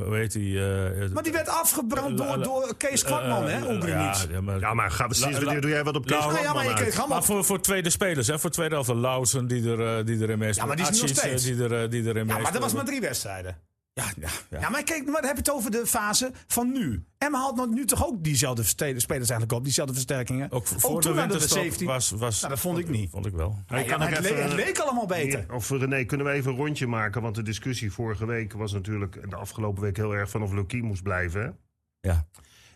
Speaker 2: hoe heet die... eh,
Speaker 4: Maar die werd afgebrand
Speaker 2: La-
Speaker 4: door,
Speaker 2: la-
Speaker 4: door Kees Kwakman,
Speaker 2: eh,
Speaker 4: hè?
Speaker 2: eh,
Speaker 4: Oegrinic.
Speaker 2: Ja, ja, maar,
Speaker 5: Ja, maar ga precies.
Speaker 2: La- la-
Speaker 5: doe jij wat op Kees
Speaker 2: Nou,
Speaker 4: Nou ja, maar
Speaker 5: Kwakman
Speaker 4: je
Speaker 5: uit?
Speaker 4: kreeg
Speaker 2: maar
Speaker 4: allemaal...
Speaker 2: voor, voor tweede spelers, hè? Voor tweede helft, Lausen die, er, eh, die erin meespeelt.
Speaker 4: maar die is nu nog
Speaker 2: Atsic, eh,
Speaker 4: steeds.
Speaker 2: Die er, eh, die erin
Speaker 4: Ja, maar dat
Speaker 2: meespeelt.
Speaker 4: was maar drie wedstrijden.
Speaker 2: Ja, ja, ja.
Speaker 4: Ja, maar kijk, maar dan heb je het over de fase van nu. En haalt nog nu toch ook diezelfde verste- spelers eigenlijk op, diezelfde versterkingen.
Speaker 2: Ook voor de
Speaker 4: toen hadden we
Speaker 2: winterstop
Speaker 4: 17.
Speaker 2: was... was
Speaker 4: Nou, dat vond ik niet.
Speaker 2: Vond ik wel.
Speaker 5: Hij
Speaker 4: Ja,
Speaker 5: kan
Speaker 4: maar
Speaker 5: ook
Speaker 4: het,
Speaker 5: even-
Speaker 4: le- het leek allemaal beter.
Speaker 5: Ja, Of René, kunnen we even een rondje maken? Want de discussie vorige week was natuurlijk en de afgelopen week heel erg van of Lucky moest blijven. hè?
Speaker 2: Ja.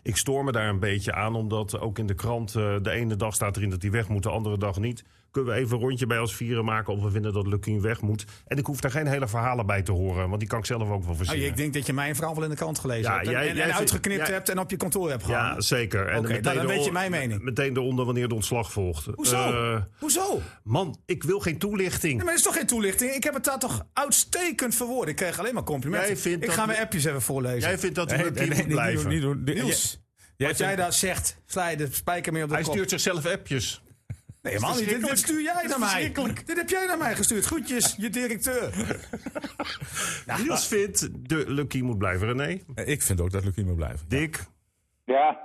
Speaker 5: Ik stoor me daar een beetje aan, omdat ook in de krant eh, de ene dag staat erin dat hij weg moet, de andere dag niet. Kunnen we even een rondje bij ons vieren maken of we vinden dat Lucky weg moet? En ik hoef daar geen hele verhalen bij te horen, want die kan ik zelf ook wel
Speaker 4: Oh,
Speaker 5: verzinnen.
Speaker 4: ik denk dat je mijn verhaal wel in de krant gelezen
Speaker 5: Ja,
Speaker 4: hebt. En,
Speaker 5: jij-
Speaker 4: en-
Speaker 5: jij
Speaker 4: en
Speaker 5: vindt-
Speaker 4: uitgeknipt
Speaker 5: jij-
Speaker 4: hebt en op je kantoor hebt gehaald.
Speaker 5: ja, zeker. En
Speaker 4: Oké,
Speaker 5: meteen
Speaker 4: nou, dan
Speaker 5: eronder-
Speaker 4: weet je mijn mening.
Speaker 5: Meteen eronder wanneer de ontslag volgt.
Speaker 4: Hoezo?
Speaker 5: Eh,
Speaker 4: Hoezo?
Speaker 5: man, ik wil geen toelichting.
Speaker 4: Nee, maar dat is toch geen toelichting? Ik heb het daar toch uitstekend verwoord. Ik kreeg alleen maar
Speaker 5: Jij
Speaker 4: complimenten.
Speaker 5: vindt
Speaker 4: Ik
Speaker 5: dat
Speaker 4: ga
Speaker 5: we-
Speaker 4: mijn appjes even voorlezen.
Speaker 5: Jij vindt dat
Speaker 2: Nee,
Speaker 5: Lucky
Speaker 2: nee, nee,
Speaker 5: moet
Speaker 2: niet doen,
Speaker 5: blijven.
Speaker 2: niet doen. Dit-
Speaker 4: Niels,
Speaker 2: jij-
Speaker 4: Wat jij daar zegt, sla je de spijker mee op de
Speaker 5: Hij
Speaker 4: kop.
Speaker 5: stuurt zichzelf appjes.
Speaker 4: nee, helemaal niet. Dit, dit stuur jij naar mij. Dit heb jij naar mij gestuurd. Groetjes, je directeur.
Speaker 5: Niels vindt de Lucky moet blijven. René,
Speaker 2: Eh, Ik vind ook dat Lucie moet blijven.
Speaker 5: Dick,
Speaker 3: Ja,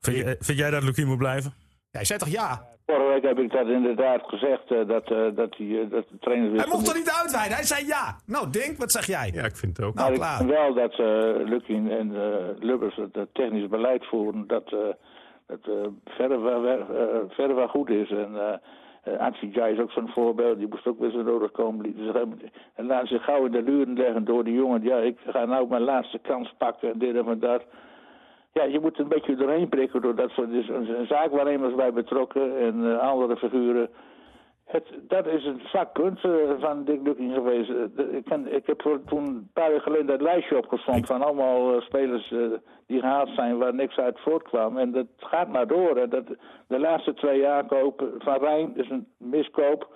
Speaker 2: Vind, je- eh, vind jij dat Lucie moet blijven?
Speaker 4: Jij zei toch ja?
Speaker 3: vorige week heb ik dat inderdaad gezegd, eh, dat, eh, dat, die, eh, dat de trainer...
Speaker 4: Hij mocht er niet uitweiden. Hij zei ja. Nou, Dink, wat zeg jij?
Speaker 5: ja, ik vind het ook.
Speaker 4: Nou,
Speaker 3: Maar ik
Speaker 4: klaar.
Speaker 3: vind wel dat eh Lukin en eh, Lubbers het eh, technisch beleid voeren dat, eh dat eh, verder, wel, wel- eh, verder wel goed is. En eh eh, Atsinjai is ook zo'n voorbeeld, die moest ook weer zo nodig komen. Die- die zeggen, En laat zich gauw in de luren leggen door die jongen. Ja, ik ga nou mijn laatste kans pakken en dit en dat. Ja, je moet een beetje doorheen prikken door dat soort. Dus een, een zaakwaarnemers bij betrokken en eh, andere figuren. Het, dat is het vakpunt eh, van Dick Lukking geweest. Eh, de- ik, ken- ik heb voor, toen een paar jaar geleden dat lijstje opgestond van allemaal eh, spelers eh, die gehaald zijn waar niks uit voortkwam. En dat gaat maar door. En dat, de laatste twee aankopen van Rijn is een miskoop.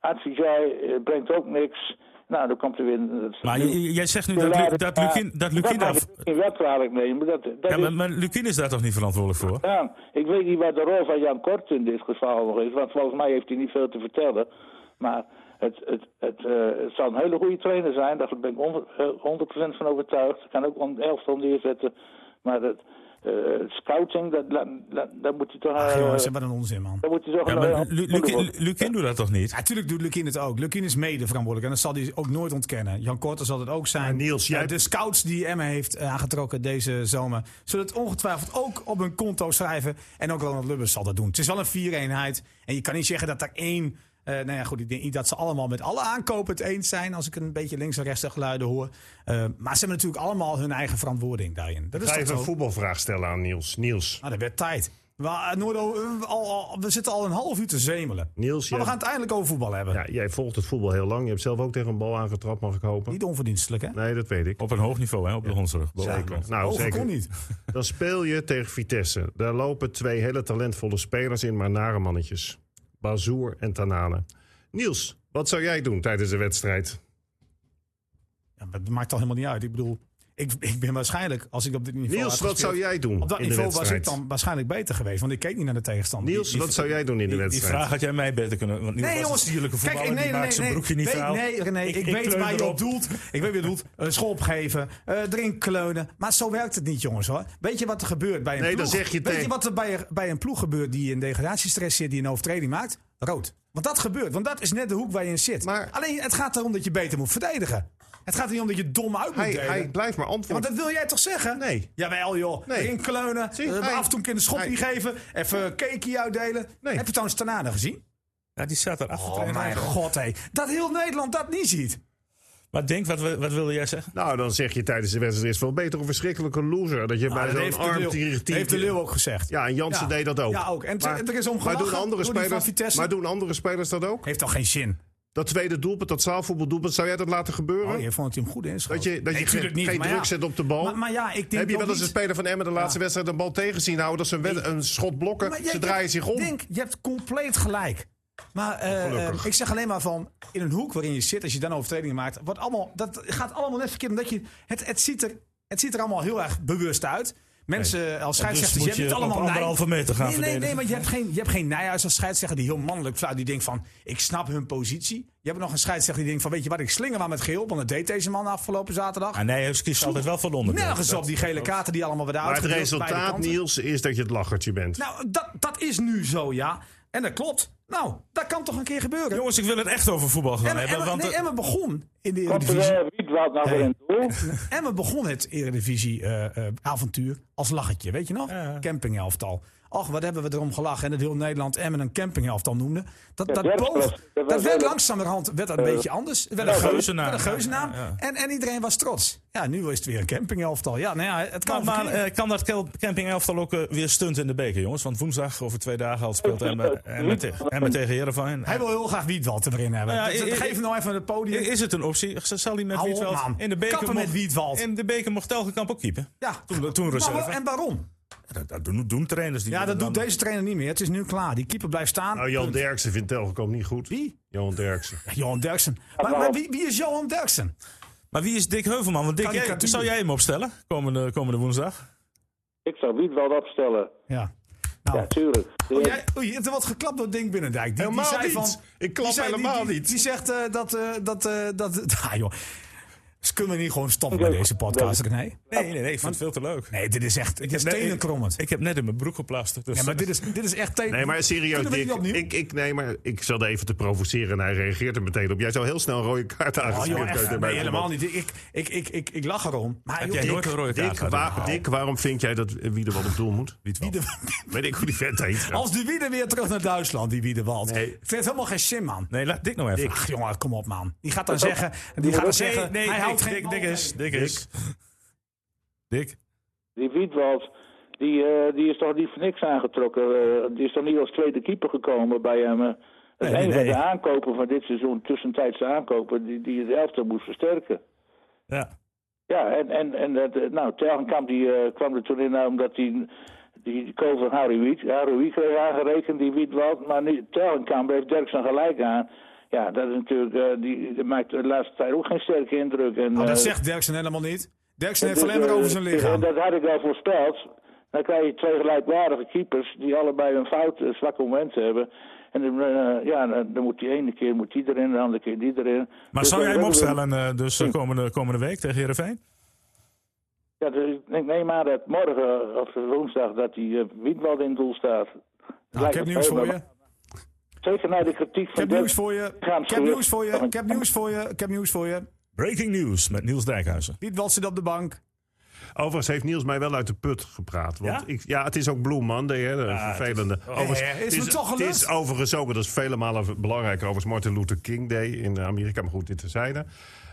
Speaker 3: Advijay eh, brengt ook niks. Nou, dan komt er weer. een-
Speaker 2: Maar j- j- jij zegt nu dat, Lu- dat Lucien, dat Lucien
Speaker 3: dat
Speaker 2: daar...
Speaker 3: mag ik niet wel kwalijk nemen. Dat, dat
Speaker 2: Ja,
Speaker 3: is-
Speaker 2: maar, maar Lucien is daar toch niet verantwoordelijk voor?
Speaker 3: gedaan. Ik weet niet wat de rol van Jan Kort in dit geval nog is, want volgens mij heeft hij niet veel te vertellen. Maar het, het, het, eh, het zal een hele goede trainer zijn, daar ben ik on- eh, 100% van overtuigd. Ik kan ook een elftal neerzetten, maar het, eh, het scouting, dat, dat, dat, dat moet hij toch...
Speaker 4: Ach,
Speaker 3: eh,
Speaker 4: jongens, wat een onzin, man.
Speaker 3: dat moet hij toch
Speaker 2: Ja,
Speaker 3: een, eh,
Speaker 2: maar Lu-
Speaker 3: goede
Speaker 2: Lucien
Speaker 3: worden.
Speaker 2: Lucien doet dat toch niet?
Speaker 4: Natuurlijk doet Lukien het ook. Lukien is mede verantwoordelijk. En dat zal hij ook nooit ontkennen. Jan Korter zal het ook zijn.
Speaker 5: Maar Niels, jij-
Speaker 4: Eh, De scouts die Emma heeft eh, aangetrokken deze zomer... zullen het ongetwijfeld ook op hun konto schrijven. En ook Ronald Lubbers zal dat doen. Het is wel een vier-eenheid. En je kan niet zeggen dat er één... eh nou ja, goed, ik denk niet dat ze allemaal met alle aankopen het eens zijn... als ik een beetje links en rechts de geluiden hoor. Eh, maar ze hebben natuurlijk allemaal hun eigen verantwoording daarin. Dat is
Speaker 5: Ga
Speaker 4: toch
Speaker 5: even
Speaker 4: zo?
Speaker 5: een voetbalvraag stellen aan Niels. Niels,
Speaker 4: Nou, dat werd tijd. We, eh, Noordo, eh, al, al- we zitten al een half uur te zemelen.
Speaker 5: Niels
Speaker 4: Maar
Speaker 5: jij,
Speaker 4: we gaan het eindelijk over voetbal hebben.
Speaker 5: ja, jij volgt het voetbal heel lang. Je hebt zelf ook tegen een bal aangetrapt, mag ik hopen?
Speaker 4: Niet Oh, onverdienstelijk, hè?
Speaker 5: Nee, dat weet ik.
Speaker 2: Op een hoog niveau, hè? Op de Hondsrug.
Speaker 5: Zeker. Nou,
Speaker 4: Over
Speaker 5: zeker.
Speaker 4: Oh, kon niet.
Speaker 5: Dan speel je tegen Vitesse. Daar lopen twee hele talentvolle spelers in, maar nare mannetjes. Bazoer en Tanane. Niels, wat zou jij doen tijdens de wedstrijd?
Speaker 4: Ja, maar dat maakt al helemaal niet uit. Ik bedoel, ik, ik ben waarschijnlijk, als ik op dit niveau
Speaker 5: Niels,
Speaker 4: had
Speaker 5: wat
Speaker 4: gespeeld-
Speaker 5: zou jij doen
Speaker 4: Op dat
Speaker 5: in de
Speaker 4: niveau was ik
Speaker 5: wedstrijd?
Speaker 4: dan waarschijnlijk beter geweest, want ik keek niet naar de tegenstander.
Speaker 5: Niels, wat zou jij doen in de
Speaker 2: Die, die vraag
Speaker 5: wedstrijd?
Speaker 2: had jij mij beter kunnen... Want Niels
Speaker 4: Nee,
Speaker 2: was een
Speaker 4: jongens.
Speaker 2: sierlijke
Speaker 4: Kijk,
Speaker 2: voetballer,
Speaker 4: nee, nee,
Speaker 2: die maakt
Speaker 4: nee.
Speaker 2: zijn
Speaker 4: nee,
Speaker 2: broekje niet
Speaker 4: nee,
Speaker 2: vuil.
Speaker 4: nee, René, ik, weet
Speaker 2: kleun
Speaker 4: waar je
Speaker 2: erop.
Speaker 4: op doelt. Ik weet wie doelt. Een schop geven, eh drink kleunen. Maar zo werkt het niet, jongens, hoor. Weet je wat er gebeurt bij een
Speaker 5: Nee,
Speaker 4: ploeg?
Speaker 5: dan zeg je
Speaker 4: weet je
Speaker 5: tegen-
Speaker 4: wat er bij, bij een ploeg gebeurt die in degradatiestress zit, die een overtreding maakt? Rood. Want dat gebeurt, want dat is net de hoek waar je in zit.
Speaker 5: Maar-
Speaker 4: Alleen, het gaat erom dat je beter moet verdedigen. Het gaat er niet om dat je dom uit moet
Speaker 5: Hij,
Speaker 4: delen.
Speaker 5: hij blijft maar
Speaker 4: Ja, maar
Speaker 5: antwoorden.
Speaker 4: dat wil jij toch zeggen?
Speaker 5: Nee.
Speaker 4: Jawel joh,
Speaker 5: Nee.
Speaker 4: in kleunen,
Speaker 5: Zie,
Speaker 4: eh,
Speaker 5: hij-
Speaker 4: af en toe een keer een schop
Speaker 5: hij-
Speaker 4: niet geven, even cakeie uitdelen.
Speaker 5: Nee.
Speaker 4: Heb je trouwens Tanane gezien?
Speaker 2: Ja, die staat daar achter.
Speaker 4: Oh mijn god, hé. Dat heel Nederland dat niet ziet.
Speaker 2: Maar denk, wat, we- wat wilde jij zeggen?
Speaker 5: Nou, dan zeg je tijdens de wedstrijd is het wel beter een verschrikkelijke loser. Dat je
Speaker 4: Nou, dat
Speaker 5: bij
Speaker 4: heeft,
Speaker 5: zo'n arm
Speaker 4: de Leeuw,
Speaker 5: tegen
Speaker 4: heeft de Leeuw ook gezegd.
Speaker 5: Ja, en Jansen deed dat ook.
Speaker 4: Ja, ook. En t-
Speaker 5: Maar-
Speaker 4: er is om
Speaker 5: Maar
Speaker 4: gelachen
Speaker 5: doen, andere
Speaker 4: door die van
Speaker 5: spelers,
Speaker 4: Vitesse.
Speaker 5: maar doen andere spelers dat ook?
Speaker 4: Heeft toch geen zin?
Speaker 5: Dat tweede doelpunt, dat zaalvoetbaldoelpunt, zou jij dat laten gebeuren?
Speaker 4: Oh, je vond het hem goed inschat.
Speaker 5: Dat je, dat je geen, geen druk zet op de bal?
Speaker 4: Maar, maar ja, ik denk
Speaker 5: Heb je wel
Speaker 4: ook
Speaker 5: eens een
Speaker 4: niet-
Speaker 5: speler van Emmen de laatste wedstrijd een bal tegen zien houden... dat ze een, wed- een schot blokken,
Speaker 4: Maar
Speaker 5: ze
Speaker 4: jij-
Speaker 5: draaien zich om.
Speaker 4: Denk, je hebt compleet gelijk. Maar eh,
Speaker 5: Gelukkig.
Speaker 4: eh, ik zeg alleen maar van, in een hoek waarin je zit, als je dan overtredingen maakt, wordt allemaal, dat gaat allemaal net verkeerd. Omdat je, het, het, ziet er, het ziet er allemaal heel erg bewust uit. Mensen eh,
Speaker 2: Dus
Speaker 4: als scheidsrechter,
Speaker 2: moet
Speaker 4: je hebt
Speaker 2: je
Speaker 4: het allemaal
Speaker 2: op
Speaker 4: nij-
Speaker 2: anderhalve meter gaan
Speaker 4: nee, nee, nee,
Speaker 2: verdedigen.
Speaker 4: want je hebt geen, je hebt geen nijhuis als scheidsrechter die heel mannelijk fluit. Die denkt van, ik snap hun positie. Je hebt nog een scheidsrechter die denkt van, weet je wat, ik slinger maar met geel. Want dat deed deze man afgelopen zaterdag.
Speaker 2: Ah, nee, hij kiest altijd wel van onder.
Speaker 4: Nergens op die gele kaarten die allemaal werden
Speaker 5: Maar het
Speaker 4: uitgedeeld. bij de
Speaker 5: resultaat,
Speaker 4: kanten.
Speaker 5: Niels, is dat je het lachertje bent.
Speaker 4: Nou, dat, dat is nu zo, ja. En dat klopt. Nou, dat kan toch een keer gebeuren.
Speaker 2: Jongens, ik wil het echt over voetbal gaan
Speaker 4: Emma,
Speaker 2: hebben.
Speaker 4: Emma-
Speaker 2: want
Speaker 4: nee,
Speaker 2: eh,
Speaker 4: Emma begon in de
Speaker 3: Komt
Speaker 4: Eredivisie.
Speaker 3: er wie dwaalt nou weer in toe?
Speaker 4: Emma begon het Eredivisie-avontuur als lachetje, weet je nog? Campinghelftal. Och, wat hebben we erom gelachen. En dat heel Nederland Emmen een campinghelftal noemde. Dat, dat,
Speaker 3: werd
Speaker 4: boog-
Speaker 3: wel- dat
Speaker 4: dat,
Speaker 3: werd
Speaker 4: werd
Speaker 3: wel-
Speaker 4: langzamerhand werd dat een beetje anders. Het werd een
Speaker 2: Eh, ja, geuzennaam.
Speaker 4: geuzennaam. Werd een geuzennaam.
Speaker 2: Ja, ja,
Speaker 4: En, en iedereen was trots. Ja, nu is het weer een campinghelftal. Ja, nou ja, het kan
Speaker 2: maar maar,
Speaker 4: verkeren.
Speaker 2: eh, kan dat kel- camping elftal ook eh, weer stunt in de beker, jongens? Want woensdag over twee dagen al speelt Emmen Emmen tegen- Emmen tegen Heerenveen.
Speaker 4: Hij wil heel graag Wiedwald erin hebben.
Speaker 2: Nou eh, ja, eh,
Speaker 4: Dus
Speaker 2: ik- ik-
Speaker 4: geef hem nou even het podium.
Speaker 2: Is het een optie? Zal hij met
Speaker 4: Hou op,
Speaker 2: Wiedwald
Speaker 4: man.
Speaker 2: in de beker
Speaker 4: Kappen
Speaker 2: mocht-
Speaker 4: met Wiedwald.
Speaker 2: In de beker mocht Telgekamp ook keeper.
Speaker 4: ja,
Speaker 2: Toen, toen
Speaker 4: Maar
Speaker 2: reserve.
Speaker 4: wa- en waarom?
Speaker 2: dat, dat doen, doen trainers die
Speaker 4: Ja, dat doet deze trainer niet meer. Het is nu klaar. Die keeper blijft staan.
Speaker 5: Nou, Johan Derksen vindt Telgekamp niet goed.
Speaker 4: Wie?
Speaker 5: Johan Derksen.
Speaker 4: Johan Derksen. Maar, maar wie, wie is Johan Derksen?
Speaker 2: Maar wie is Dick Heuvelman? Want Dick, jij,
Speaker 4: Karikatuur.
Speaker 2: zou jij hem opstellen komende, komende woensdag?
Speaker 3: Ik zou wie dwaalt opstellen.
Speaker 4: Ja. Nou,
Speaker 3: Ja, tuurlijk.
Speaker 4: Jij, oei, er wordt geklapt door Dink Binnendijk. Die,
Speaker 5: Helemaal
Speaker 4: die zei
Speaker 5: niet.
Speaker 4: Van,
Speaker 5: Ik klap
Speaker 4: die zei- die-
Speaker 5: helemaal
Speaker 4: die-
Speaker 5: niet.
Speaker 4: Die zegt eh, dat... eh, dat, eh, dat ah, joh. Ze kunnen niet gewoon stoppen met deze podcast. Nee,
Speaker 2: Nee, nee, nee. Ik vind het veel te leuk.
Speaker 4: nee dit is echt... Dit is
Speaker 2: Nee, ik,
Speaker 4: tenenkrommend.
Speaker 2: ik heb net in mijn broek geplast. Dus
Speaker 4: Ja, maar dit is, dit is echt tenen...
Speaker 5: Nee, maar serieus,
Speaker 4: Kunnen we
Speaker 5: Dick.
Speaker 4: niet opnieuw?
Speaker 5: Ik, ik, nee, maar ik zat even te provoceren en hij reageert er meteen op. Jij zou heel snel een rode kaart
Speaker 4: Oh,
Speaker 5: aangespeeld
Speaker 4: joh, echt,
Speaker 5: hebben bij
Speaker 4: nee,
Speaker 5: het
Speaker 4: helemaal niet. Ik, ik, ik, ik, ik lach erom. Maar
Speaker 2: Heb
Speaker 4: joh,
Speaker 2: jij
Speaker 4: Dick-
Speaker 2: nooit een rode
Speaker 5: voetbal.
Speaker 2: kaart
Speaker 5: Dick,
Speaker 2: gehad?
Speaker 5: waar- Dick, waarom vind jij dat eh, wie er wat op doel moet?
Speaker 4: wie de-
Speaker 5: Weet ik hoe die vent heet.
Speaker 4: als de wieden weer terug naar Duitsland, die wiedenwald.
Speaker 5: Nee.
Speaker 4: Ik vind het helemaal geen zin, man.
Speaker 2: Nee, laat Dick nou even.
Speaker 4: Ach, jongen, kom op, man. Die gaat dan zeggen... Die gaat dan zeggen hij houdt geen
Speaker 2: Oh. Dick,
Speaker 4: bal
Speaker 2: Dick is.
Speaker 4: bij.
Speaker 2: Dick is. Dick.
Speaker 3: Die Wiedwald, die, eh, die is toch niet voor niks aangetrokken? eh, die is toch niet als tweede keeper gekomen bij hem? eh? Dat is
Speaker 2: Nee,
Speaker 3: een van
Speaker 2: nee.
Speaker 3: de aankopen van dit seizoen, tussentijdse aankopen, die, die het elftal moest versterken.
Speaker 2: Ja.
Speaker 3: Ja, en, en, en dat, eh, nou, Telgenkamp die, eh, kwam er toen in eh, omdat die, die kool van Harry Wiet, Harry Wiet kreeg aangerekend, die Wietwald. Maar nu, Telgenkamp heeft Derksen gelijk aan. Ja, dat is natuurlijk, eh, die, die maakt de laatste tijd ook geen sterke indruk.
Speaker 2: Oh,
Speaker 3: En,
Speaker 4: Nou, dat
Speaker 3: eh,
Speaker 4: zegt Derksen helemaal niet. Derksen heeft
Speaker 3: dus,
Speaker 4: alleen maar
Speaker 3: eh,
Speaker 4: over zijn lichaam.
Speaker 3: Dat had ik al voorspeld. Dan krijg je twee gelijkwaardige keepers die allebei een fout, een zwak moment hebben. En dan, eh, ja, dan dan moet die ene keer moet die erin, de andere keer die erin.
Speaker 2: Maar
Speaker 3: Dus
Speaker 2: zou jij
Speaker 3: dan
Speaker 2: hem
Speaker 3: hebben we-
Speaker 2: opstellen eh, dus eh, komende, komende week tegen Heerenveen?
Speaker 3: Ja, dus ik neem aan dat morgen eh, of woensdag dat die uh, Wietwald in het doel staat.
Speaker 4: Nou, ik heb nieuws voor je. Ik
Speaker 3: Zeker naar de kritiek van
Speaker 4: heb
Speaker 3: Dirk.
Speaker 4: nieuws voor je. Ik heb nieuws voor je. Ik heb nieuws voor je. Ik heb nieuws voor je.
Speaker 2: Breaking news met Niels Dijkhuizen.
Speaker 4: Wiedwald zit op de bank.
Speaker 5: Overigens heeft Niels mij wel uit de put gepraat. Want
Speaker 2: Ja?
Speaker 5: ja? Ik, ja, het is ook Blue Monday, hè,
Speaker 4: Ah,
Speaker 5: de vervelende. Overigens,
Speaker 4: oh, ja, ja, is
Speaker 5: het
Speaker 4: me toch
Speaker 5: het
Speaker 4: gelukt?
Speaker 5: is overigens ook, en dat is vele malen belangrijk, overigens Martin Luther King Day in Amerika. Maar goed, dit terzijde.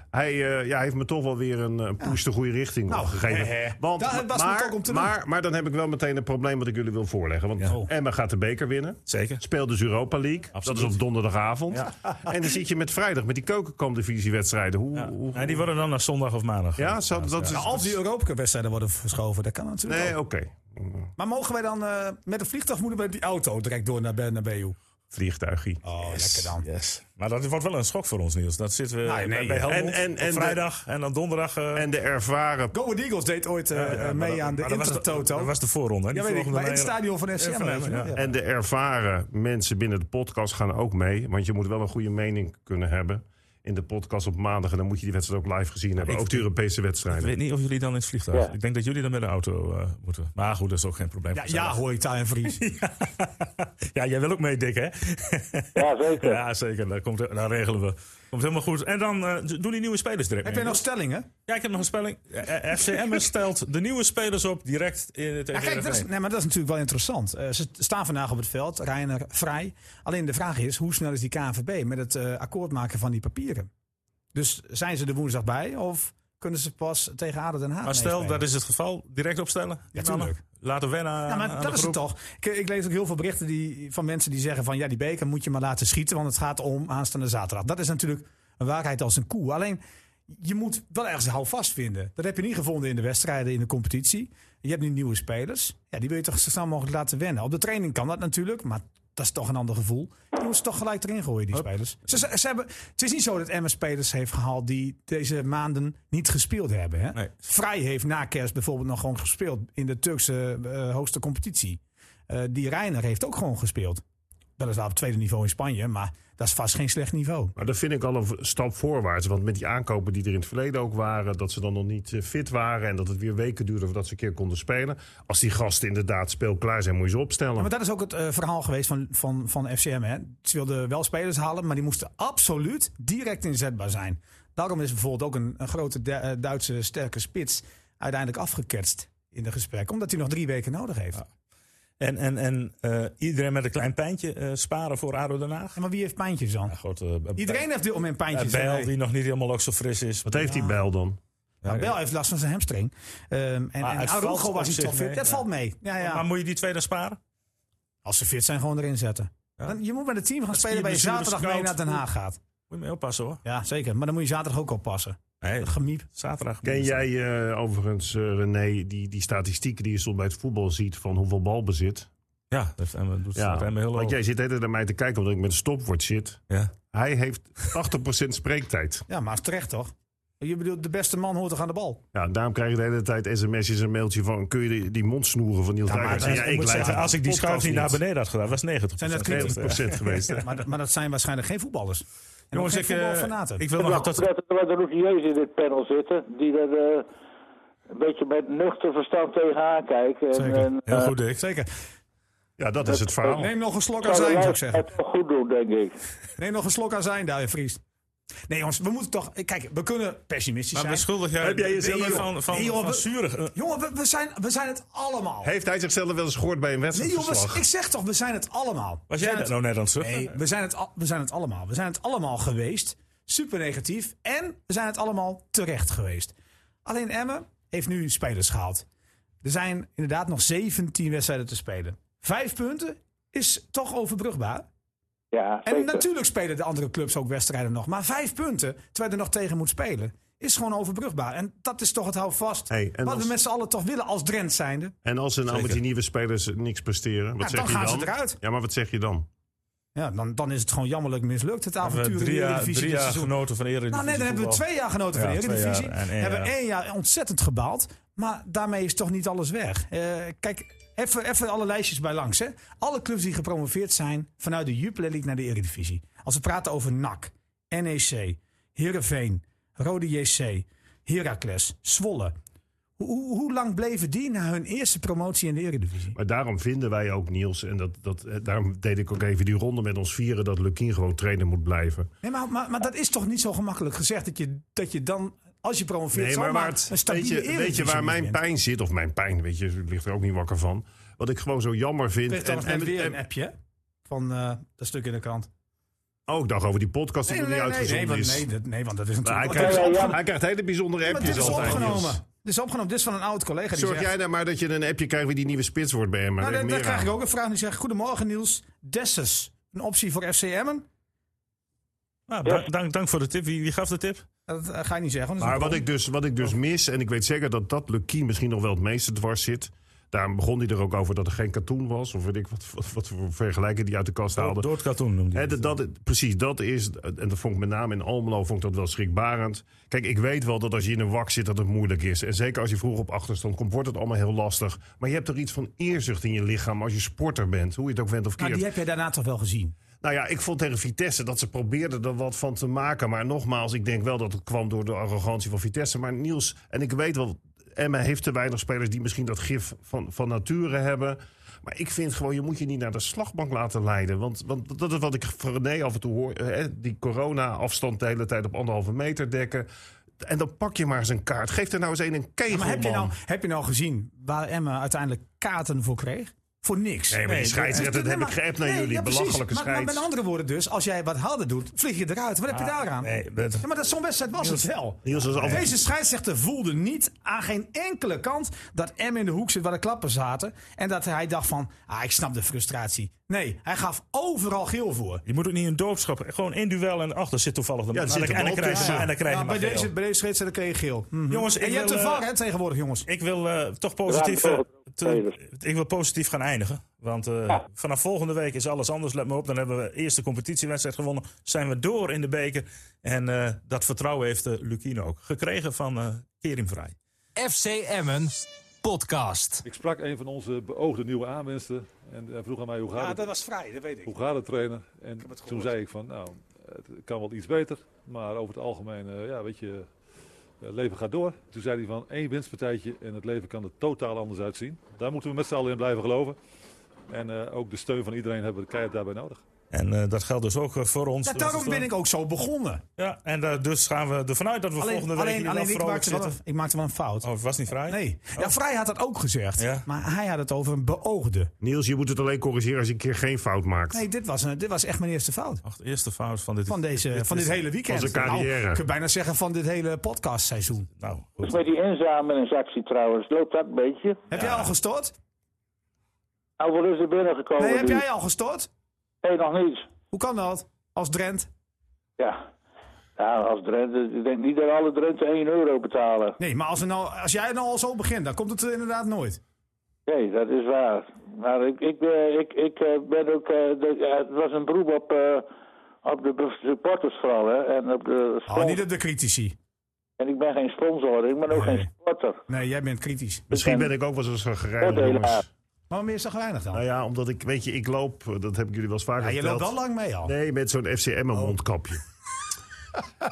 Speaker 5: Hij eh, ja, heeft me toch wel weer een eh, push de goede richting gegeven.
Speaker 4: Nou, hè, hè.
Speaker 5: Want,
Speaker 4: Daar- dat is me
Speaker 5: maar,
Speaker 4: ook om te doen. Oh.
Speaker 5: maar, maar dan heb ik wel meteen een probleem wat ik jullie wil voorleggen. Want Emma gaat de beker winnen.
Speaker 2: Zeker.
Speaker 5: Speelt dus Europa League.
Speaker 2: Absoluut.
Speaker 5: Dat is op donderdagavond. En dan zit je met vrijdag met die keukenkamp-divisiewedstrijden. Hoe,
Speaker 2: Ja.
Speaker 5: hoe,
Speaker 2: En die worden dan naar zondag of maandag.
Speaker 5: ja, zo, dat is...
Speaker 4: Nou, Als die Europese-wedstrijden worden verschoven, dat kan natuurlijk
Speaker 5: Nee,
Speaker 4: ook.
Speaker 5: oké.
Speaker 4: Maar mogen wij dan eh, met een vliegtuig moeten we met die auto direct door naar Bernabeu?
Speaker 5: Vliegtuigie.
Speaker 4: Oh, lekker dan. Ah,
Speaker 2: Yes. Maar dat wordt wel een schok voor ons, Niels. Dat zitten we
Speaker 4: Nee, nee.
Speaker 2: bij- bij Helmond
Speaker 5: En- en-
Speaker 2: op
Speaker 5: en de-
Speaker 2: vrijdag en dan donderdag. eh,
Speaker 5: En de ervaren
Speaker 4: Go Ahead Eagles deed ooit eh, eh,
Speaker 2: maar
Speaker 4: mee
Speaker 2: dat-
Speaker 4: aan de
Speaker 2: maar dat was
Speaker 4: Intertoto.
Speaker 2: Dat was de voorronde. hè? Die
Speaker 4: ja, weet ik.
Speaker 2: volgende
Speaker 4: Maar in het
Speaker 2: lijn-
Speaker 4: stadion van
Speaker 2: Ja,
Speaker 4: FCM.
Speaker 2: van
Speaker 4: weet je
Speaker 2: hem,
Speaker 4: wel.
Speaker 2: ja.
Speaker 4: Ja.
Speaker 5: en de ervaren mensen binnen de podcast gaan ook mee. Want je moet wel een goede mening kunnen hebben in de podcast op maandag. En dan moet je die wedstrijd ook live gezien hebben.
Speaker 2: ik-
Speaker 5: ook de Europese
Speaker 2: Ik
Speaker 5: wedstrijden.
Speaker 2: weet niet of jullie dan in het vliegtuig.
Speaker 3: Ja.
Speaker 2: Ik denk dat jullie dan met de auto eh, moeten. Maar goed, dat is ook geen probleem.
Speaker 4: Ja,
Speaker 2: Gezellig.
Speaker 4: ja, hoor ik daar in Vries.
Speaker 2: ja, jij wil ook mee, Dick, hè?
Speaker 3: Ja, zeker.
Speaker 2: Ja, zeker. Dat, komt, dat regelen we. Komt helemaal goed. En dan eh, doen die nieuwe spelers direct.
Speaker 4: Heb
Speaker 2: mee.
Speaker 4: jij nog stellingen?
Speaker 2: Ja, ik heb nog een spelling. Eh, eh, FCM stelt de nieuwe spelers op direct in het
Speaker 4: Ja, kijk, dat is, nee, maar dat is natuurlijk wel interessant. Eh, ze staan vandaag op het veld, Reiner vrij. Alleen de vraag is, hoe snel is die KNVB met het eh, akkoord maken van die papieren? Dus zijn ze er woensdag bij of kunnen ze pas tegen ADO Den Haag
Speaker 2: Maar stel,
Speaker 4: meespelen?
Speaker 2: dat is het geval. Direct opstellen. Die
Speaker 4: tuurlijk.
Speaker 2: mannen. Laten wennen aan,
Speaker 4: Ja, maar
Speaker 2: aan
Speaker 4: dat
Speaker 2: de
Speaker 4: is het
Speaker 2: groep.
Speaker 4: toch. Ik, ik lees ook heel veel berichten die, van mensen die zeggen van... ja, die beker moet je maar laten schieten, want het gaat om aanstaande zaterdag. Dat is natuurlijk een waarheid als een koe. Alleen, je moet wel ergens een houvast vinden. Dat heb je niet gevonden in de wedstrijden, in de competitie. Je hebt nu nieuwe spelers. Ja, die wil je toch zo snel mogelijk laten wennen. Op de training kan dat natuurlijk, maar... dat is toch een ander gevoel. Die moeten ze toch gelijk erin gooien, die spelers. Ze, ze, ze hebben, het is niet zo dat Emmen spelers heeft gehaald die deze maanden niet gespeeld hebben. Hè?
Speaker 2: Nee.
Speaker 4: Vrij heeft na kerst bijvoorbeeld nog gewoon gespeeld in de Turkse eh, hoogste competitie. Eh, die Reiner heeft ook gewoon gespeeld. Weliswaar op tweede niveau in Spanje, maar dat is vast geen slecht niveau.
Speaker 5: Maar dat vind ik al een v- stap voorwaarts. Want met die aankopen die er in het verleden ook waren... dat ze dan nog niet eh, fit waren... en dat het weer weken duurde voordat ze een keer konden spelen. Als die gasten inderdaad speelklaar zijn, moet je ze opstellen.
Speaker 4: Ja, maar dat is ook het eh, verhaal geweest van, van, van FCM. Hè? Ze wilden wel spelers halen, maar die moesten absoluut direct inzetbaar zijn. Daarom is bijvoorbeeld ook een, een grote Du- eh, Duitse sterke spits uiteindelijk afgeketst in de gesprek. Omdat hij nog drie weken nodig heeft.
Speaker 2: En, en, en eh, iedereen met een klein pijntje eh, sparen voor ADO Den Haag?
Speaker 4: En maar wie heeft pijntjes dan?
Speaker 2: Ja, goed, eh, eh,
Speaker 4: Iedereen heeft op dit moment
Speaker 2: eh,
Speaker 4: pijntjes.
Speaker 2: Bijl,
Speaker 4: hè?
Speaker 2: die nog niet helemaal ook zo fris is.
Speaker 5: Wat heeft die bijl dan?
Speaker 4: Nou, Bijl heeft last van zijn hamstring. Ehm, en
Speaker 2: Maar
Speaker 4: en
Speaker 2: het valt
Speaker 4: Araujo
Speaker 2: op
Speaker 4: was niet
Speaker 2: zich
Speaker 4: zo fit.
Speaker 2: mee,
Speaker 4: Dat
Speaker 2: ja.
Speaker 4: valt mee. Ja, ja.
Speaker 2: Maar moet je die twee dan sparen?
Speaker 4: Als ze fit zijn, gewoon erin zetten. Dan, je moet met het team gaan spelen waar je
Speaker 2: blessures
Speaker 4: zaterdag mee
Speaker 2: koud.
Speaker 4: naar Den Haag gaat.
Speaker 2: Moet je mee oppassen hoor.
Speaker 4: Ja, zeker. Maar dan moet je zaterdag ook oppassen.
Speaker 2: Nee,
Speaker 4: Dat gemiep.
Speaker 2: zaterdag.
Speaker 5: Ken jij eh, overigens, eh, René, die, die statistieken die je soms bij het voetbal ziet... van hoeveel balbezit?
Speaker 2: Ja, dat heeft Emmen- doet
Speaker 5: Ja,
Speaker 2: ja. Emmen heel
Speaker 5: want
Speaker 2: hoog.
Speaker 5: jij zit de hele tijd naar mij te kijken omdat ik met een stopwoord zit.
Speaker 2: Ja.
Speaker 5: Hij heeft 80% spreektijd.
Speaker 4: Ja, maar is terecht toch? Je bedoelt, de beste man hoort toch aan de bal?
Speaker 5: Ja, daarom krijg je de hele tijd sms'jes en mailtje van... kun je die, die mond snoeren van Niels
Speaker 4: Ja, maar
Speaker 5: Dijkhuis?
Speaker 4: dat-
Speaker 5: Ja,
Speaker 4: ik moet
Speaker 5: leid
Speaker 4: zeggen,
Speaker 5: de
Speaker 2: Als ik die schuif
Speaker 5: podcast
Speaker 2: niet naar beneden had gedaan, was 90
Speaker 4: Zijn dat
Speaker 2: Nee,
Speaker 4: kritisch?
Speaker 5: 90% geweest. hè?
Speaker 4: Maar, dat- maar dat zijn waarschijnlijk geen voetballers. En
Speaker 2: Jongens,
Speaker 4: ook
Speaker 2: ik,
Speaker 4: geen
Speaker 2: eh,
Speaker 4: voetbalfanaten.
Speaker 2: ik wil
Speaker 3: Ik
Speaker 2: nog
Speaker 3: dacht
Speaker 2: dat...
Speaker 3: dat er wat routiniers in dit panel zitten. Die er eh, een beetje met nuchter verstand tegenaan kijken. En,
Speaker 4: Zeker.
Speaker 3: en,
Speaker 2: Heel
Speaker 3: eh,
Speaker 2: goed, Dick.
Speaker 4: Zeker.
Speaker 5: Ja, dat is het
Speaker 2: Oh.
Speaker 5: verhaal.
Speaker 4: Neem nog een slok
Speaker 3: zouden
Speaker 4: azijn, zou
Speaker 3: wij
Speaker 4: ik zeggen.
Speaker 3: Het toch goed doen, denk ik.
Speaker 4: Neem nog een slok azijn, daar, Vries. Nee, jongens, we moeten toch... eh, Kijk, we kunnen pessimistisch
Speaker 2: Maar
Speaker 4: zijn.
Speaker 2: beschuldig jij,
Speaker 5: Heb jij jezelf
Speaker 2: Ben je
Speaker 5: even-
Speaker 2: van, van,
Speaker 4: Nee, joh,
Speaker 2: van
Speaker 4: we-
Speaker 2: zuurig? Eh,
Speaker 4: Jongen, we, we zijn, we zijn het allemaal.
Speaker 5: Heeft hij zichzelf wel eens gehoord bij een
Speaker 4: Nee, jongens,
Speaker 5: wedstrijdverslag?
Speaker 4: ik zeg toch, we zijn het allemaal.
Speaker 2: Was jij dat nou net aan het zeggen?
Speaker 4: Nee, we zijn het, al- we zijn het allemaal. We zijn het allemaal geweest. Super negatief. En we zijn het allemaal terecht geweest. Alleen Emmen heeft nu spelers gehaald. Er zijn inderdaad nog 17 wedstrijden te spelen. Vijf punten is toch overbrugbaar.
Speaker 3: Ja,
Speaker 4: En
Speaker 3: zeker.
Speaker 4: natuurlijk spelen de andere clubs ook wedstrijden nog. Maar vijf punten, terwijl je er nog tegen moet spelen, is gewoon overbrugbaar. En dat is toch het houvast.
Speaker 5: Hey, en
Speaker 4: wat
Speaker 5: als-
Speaker 4: we met z'n allen toch willen als Drent zijnde.
Speaker 5: En als ze nou met
Speaker 2: Zeker.
Speaker 5: die nieuwe spelers niks presteren, wat
Speaker 4: Ja,
Speaker 5: zeg
Speaker 4: dan
Speaker 5: je
Speaker 4: gaan
Speaker 5: dan?
Speaker 4: ze eruit.
Speaker 5: Ja, maar wat zeg je dan?
Speaker 4: Ja, dan, dan is het gewoon jammerlijk mislukt, het
Speaker 2: We
Speaker 4: avontuur
Speaker 2: hebben
Speaker 4: in de
Speaker 2: drie jaar,
Speaker 4: Eredivisie
Speaker 2: drie
Speaker 4: dit
Speaker 2: jaar
Speaker 4: seizoen.
Speaker 2: genoten van de Eredivisie.
Speaker 4: Nou, nee, dan hebben we
Speaker 2: voetbal.
Speaker 4: twee jaar genoten van
Speaker 2: Ja,
Speaker 4: de
Speaker 2: twee
Speaker 4: Eredivisie.
Speaker 2: jaar en één
Speaker 4: hebben
Speaker 2: jaar.
Speaker 4: één jaar ontzettend gebaald. Maar daarmee is toch niet alles weg. Eh, kijk, even, even alle lijstjes bij langs. Hè. Alle clubs die gepromoveerd zijn vanuit de Jupiler League naar de Eredivisie. Als we praten over NAC, NEC, E Heerenveen, Rode JC, Heracles, Zwolle. Hoe, hoe, hoe lang bleven die na hun eerste promotie in de Eredivisie?
Speaker 5: Maar daarom vinden wij ook, Niels, en dat, dat, eh, daarom deed ik ook even die ronde met ons vieren... dat Lukien gewoon trainer moet blijven.
Speaker 4: Nee, maar, maar, maar dat is toch niet zo gemakkelijk gezegd dat je, dat je dan, als je promoveert,
Speaker 5: Nee, maar
Speaker 4: zomaar
Speaker 5: waar het-
Speaker 4: een
Speaker 5: weet,
Speaker 4: stabiele
Speaker 5: je, weet je
Speaker 4: Eredivisie
Speaker 5: waar mijn
Speaker 4: bent.
Speaker 5: pijn zit? Of mijn pijn, weet je, ik ligt er ook niet wakker van. Wat ik gewoon zo jammer vind.
Speaker 4: kreeg trouwens net weer een appje hè, van eh, dat stuk in de krant.
Speaker 5: ook nog Oh, over die podcast die nog niet
Speaker 4: nee,
Speaker 5: uitgezonden
Speaker 4: want,
Speaker 5: is.
Speaker 4: nee, dat, nee, want dat is
Speaker 5: Maar hij,
Speaker 4: natuurlijk...
Speaker 5: krijgt,
Speaker 3: Ja, ja, ja.
Speaker 5: hij krijgt hele bijzondere
Speaker 4: maar dit
Speaker 5: appjes
Speaker 4: is
Speaker 5: altijd.
Speaker 4: opgenomen.
Speaker 5: Niels.
Speaker 4: Dit is opgenomen. Dit is van een oud collega. Die
Speaker 5: Zorg
Speaker 4: zegt,
Speaker 5: jij nou maar dat je een appje krijgt wie die nieuwe spits wordt bij hem.
Speaker 4: nou, daar,
Speaker 5: daar
Speaker 4: daar krijg ik
Speaker 5: ook.
Speaker 4: ook een vraag. Die zegt, goedemorgen Niels. Dessus, een optie voor FC Emmen?
Speaker 2: Nou, dank, dank, dank voor de tip. Wie, wie gaf de tip?
Speaker 4: Dat eh, ga je niet zeggen. want dat is
Speaker 5: Maar
Speaker 4: een
Speaker 5: wat
Speaker 4: bron.
Speaker 5: ik, dus, wat ik dus mis, en ik weet zeker dat dat Lukien misschien nog wel het meeste dwars zit. Daarom begon hij er ook over dat er geen katoen was. Of weet ik wat, wat, wat voor vergelijken die uit de
Speaker 4: Oh,
Speaker 5: kast haalde.
Speaker 2: Door het katoen noemde hij
Speaker 5: Hè, dat,
Speaker 2: het.
Speaker 5: dat- precies, dat is, en dat vond ik met name in Almelo vond ik dat wel schrikbarend. Kijk, ik weet wel dat als je in een wak zit dat het moeilijk is. En zeker als je vroeg op achterstand komt, wordt het allemaal heel lastig. Maar je hebt er iets van eerzucht in je lichaam als je sporter bent. Hoe je het ook bent of keert.
Speaker 4: Maar die heb jij daarna toch wel gezien?
Speaker 5: Nou ja, ik vond tegen Vitesse dat ze probeerden er wat van te maken. Maar nogmaals, ik denk wel dat het kwam door de arrogantie van Vitesse. Maar Niels, en ik weet wel, Emma heeft te weinig spelers die misschien dat gif van, van nature hebben. Maar ik vind gewoon, je moet je niet naar de slagbank laten leiden. Want, want dat is wat ik van René af en toe hoor. eh, Die corona-afstand de hele tijd op anderhalve meter dekken. En dan pak je maar eens een kaart. Geef er nou eens een een kegel,
Speaker 4: Maar heb je,
Speaker 5: man.
Speaker 4: nou, heb je nou gezien waar Emmen uiteindelijk kaarten voor kreeg? Voor niks. eh,
Speaker 5: Nee, maar die scheidsrechter, dat heb ik geappt naar
Speaker 4: Nee,
Speaker 5: jullie.
Speaker 4: ja, precies.
Speaker 5: Belachelijke
Speaker 4: Maar- Maar,
Speaker 5: scheids. Ah,
Speaker 4: met andere woorden dus, als jij wat harder doet, vlieg je eruit. Wat heb je daaraan?
Speaker 2: nee, dat-
Speaker 4: Ja, maar dat zo'n wedstrijd was het wel.
Speaker 5: Niels was altijd...
Speaker 4: Deze scheidsrechter voelde niet aan geen enkele kant dat M in de hoek zit waar de klappen zaten. En dat hij dacht van, ah, ik snap de frustratie. Nee, hij gaf overal geel voor.
Speaker 2: Je moet ook niet een doopschap. Gewoon één duel en ach, daar zit toevallig de
Speaker 5: Ja, er
Speaker 2: man.
Speaker 5: zit
Speaker 2: en, dan-
Speaker 5: een
Speaker 2: en dan
Speaker 5: bal
Speaker 2: krijg je
Speaker 5: tussen.
Speaker 2: maar- en dan krijg je
Speaker 4: Ja, Nou,
Speaker 2: maar
Speaker 4: bij,
Speaker 2: geel.
Speaker 4: deze, bij deze scheidsrechter kreeg je geel. Mhm.
Speaker 2: Jongens,
Speaker 4: en
Speaker 2: ik
Speaker 4: je hebt
Speaker 2: wil,
Speaker 4: de
Speaker 2: eh,
Speaker 4: VAR hè, tegenwoordig, jongens.
Speaker 2: Ik wil, eh, toch positief,
Speaker 3: Ja,
Speaker 2: eh,
Speaker 3: toch.
Speaker 2: te- ik wil positief gaan eindigen. Want eh,
Speaker 7: Ja.
Speaker 2: vanaf volgende week is alles anders. Let maar op, dan hebben we eerst de competitiewedstrijd gewonnen. Zijn we door in de beker. En eh, dat vertrouwen heeft eh, Lukien ook gekregen van eh Kerim Vrij.
Speaker 1: FC Emmen podcast.
Speaker 6: Ik sprak een van onze beoogde nieuwe aanwinsten. En hij vroeg aan mij hoe gaat
Speaker 8: Ja,
Speaker 6: het
Speaker 8: dat was vrij, dat weet ik.
Speaker 6: Hoe gaat het trainen? En
Speaker 8: heb het
Speaker 6: toen
Speaker 8: gehoord.
Speaker 6: zei ik van, nou, het kan wel iets beter. Maar over het algemeen, eh, ja, weet je, eh, het leven gaat door. Toen zei hij van, één winstpartijtje en het leven kan er totaal anders uitzien. Daar moeten we met z'n allen in blijven geloven. En eh, ook de steun van iedereen hebben we keihard daarbij nodig.
Speaker 2: En eh, dat geldt dus ook eh, voor ons.
Speaker 4: Ja, daarom ben ik ook zo begonnen.
Speaker 2: Ja, en daar- dus gaan we ervan uit dat we
Speaker 4: Alleen,
Speaker 2: volgende week
Speaker 4: alleen,
Speaker 2: hier
Speaker 4: alleen
Speaker 2: wel
Speaker 4: ik,
Speaker 2: vrolijk
Speaker 4: maakte wel
Speaker 2: zitten.
Speaker 4: een, ik maakte wel een fout.
Speaker 2: Oh, het was niet Vrij?
Speaker 4: Nee. Ja, Vrij had dat ook gezegd.
Speaker 2: Ja.
Speaker 4: Maar hij had het over een beoogde.
Speaker 5: Niels, je moet het alleen corrigeren als je een keer geen fout maakt.
Speaker 4: Nee, dit was, een, dit was echt mijn eerste fout.
Speaker 2: Ach, de eerste fout van dit...
Speaker 4: Van, deze, van dit
Speaker 2: is-
Speaker 4: hele weekend.
Speaker 5: van zijn carrière.
Speaker 4: Nou, ik kan bijna zeggen van dit hele podcastseizoen.
Speaker 2: Nou,
Speaker 3: Dus
Speaker 2: goed.
Speaker 3: met die inzamelingsactie trouwens, loopt dat een beetje?
Speaker 4: Heb jij al gestort?
Speaker 3: Hoeveel is er binnengekomen?
Speaker 4: Nee, heb
Speaker 3: nu?
Speaker 4: jij al gestort?
Speaker 3: Nee, nog niet.
Speaker 4: Hoe kan dat? Als Drent?
Speaker 3: Ja. Nou, als Drenthe, ik denk niet dat alle Drenthe 1 euro betalen.
Speaker 4: Nee, maar als, we nou, als jij nou al zo begint, dan komt het er inderdaad nooit.
Speaker 3: Nee, dat is waar. Maar ik, ik, eh, ik, ik eh, ben ook. eh, de- ja, het was een beroep op, eh, op de supporters vooral. Hè, en, op de
Speaker 4: Oh,
Speaker 3: spons-
Speaker 4: niet op de critici.
Speaker 3: en ik ben geen sponsor, ik ben ook geen supporter.
Speaker 4: Nee, jij bent kritisch.
Speaker 5: Misschien
Speaker 3: ben-
Speaker 5: ben ik ook wel eens gereden,
Speaker 3: Oordelen
Speaker 5: jongens.
Speaker 3: haar.
Speaker 4: Maar waarom is dat weinig dan?
Speaker 5: Nou ja, omdat ik, weet je, ik loop, eh, dat heb ik jullie wel Oh. eens vaker
Speaker 4: Ja, je
Speaker 5: verteld.
Speaker 4: loopt al lang mee al.
Speaker 5: Nee, met zo'n FCM mondkapje.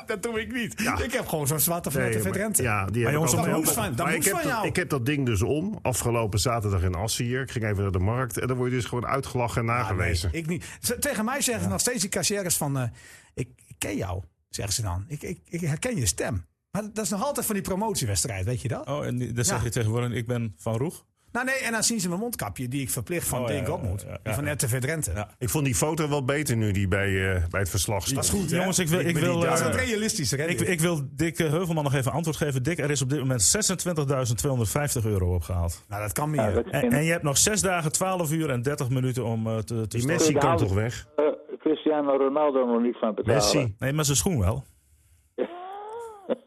Speaker 4: Dat doe ik niet. Ik heb gewoon zo'n zwarte vanuit de
Speaker 5: maar-
Speaker 4: Vedrente.
Speaker 5: ja, die heb ik
Speaker 4: jongens,
Speaker 5: ook
Speaker 4: dat
Speaker 5: wel.
Speaker 4: moest van- dat
Speaker 5: Maar
Speaker 4: moest
Speaker 5: ik heb
Speaker 4: van jou.
Speaker 5: Ik heb dat ding dus om, afgelopen zaterdag in Assen hier. Ik ging even naar de markt en dan word je dus gewoon uitgelachen en nagewezen.
Speaker 4: Ah, Nee, ik niet. Ze- tegen mij zeggen nog steeds die kassières van... eh, ik, ik ken jou, zeggen ze dan. Ik, ik, ik herken je stem. Maar dat is nog altijd van die promotiewedstrijd, weet je dat?
Speaker 2: Oh, en die- dan zeg
Speaker 4: Ja.
Speaker 2: je tegenwoordig, ik ben Van Roeg.
Speaker 4: Nou nee, en dan zien ze mijn mondkapje die ik verplicht van
Speaker 2: Oh,
Speaker 4: Dink
Speaker 2: ja, ja,
Speaker 4: op moet.
Speaker 2: ja, ja,
Speaker 4: en van
Speaker 2: ja.
Speaker 4: RTV Drenthe.
Speaker 2: Ja.
Speaker 5: Ik vond die foto wel beter nu die bij, eh, bij het verslag staat.
Speaker 4: goed, hè?
Speaker 2: Jongens, ik wil... Ik
Speaker 5: ben
Speaker 2: wil
Speaker 5: niet
Speaker 2: eh,
Speaker 4: Dat is wat realistischer, hè?
Speaker 2: ik,
Speaker 4: dit?
Speaker 2: ik wil Dick eh, Heuvelman nog even antwoord geven. Dick, er is op dit moment 26.250 euro opgehaald.
Speaker 4: nou, dat kan meer.
Speaker 3: Dat is
Speaker 2: En,
Speaker 3: geen-
Speaker 2: en je hebt nog 6 dagen, 12 uur en 30 minuten om eh, te, te
Speaker 5: Die
Speaker 2: storten.
Speaker 5: Messi kan
Speaker 3: Goedenavond.
Speaker 5: toch weg?
Speaker 3: eh, Cristiano Ronaldo nog niet van betalen.
Speaker 5: Messi.
Speaker 2: Nee, maar zijn schoen wel.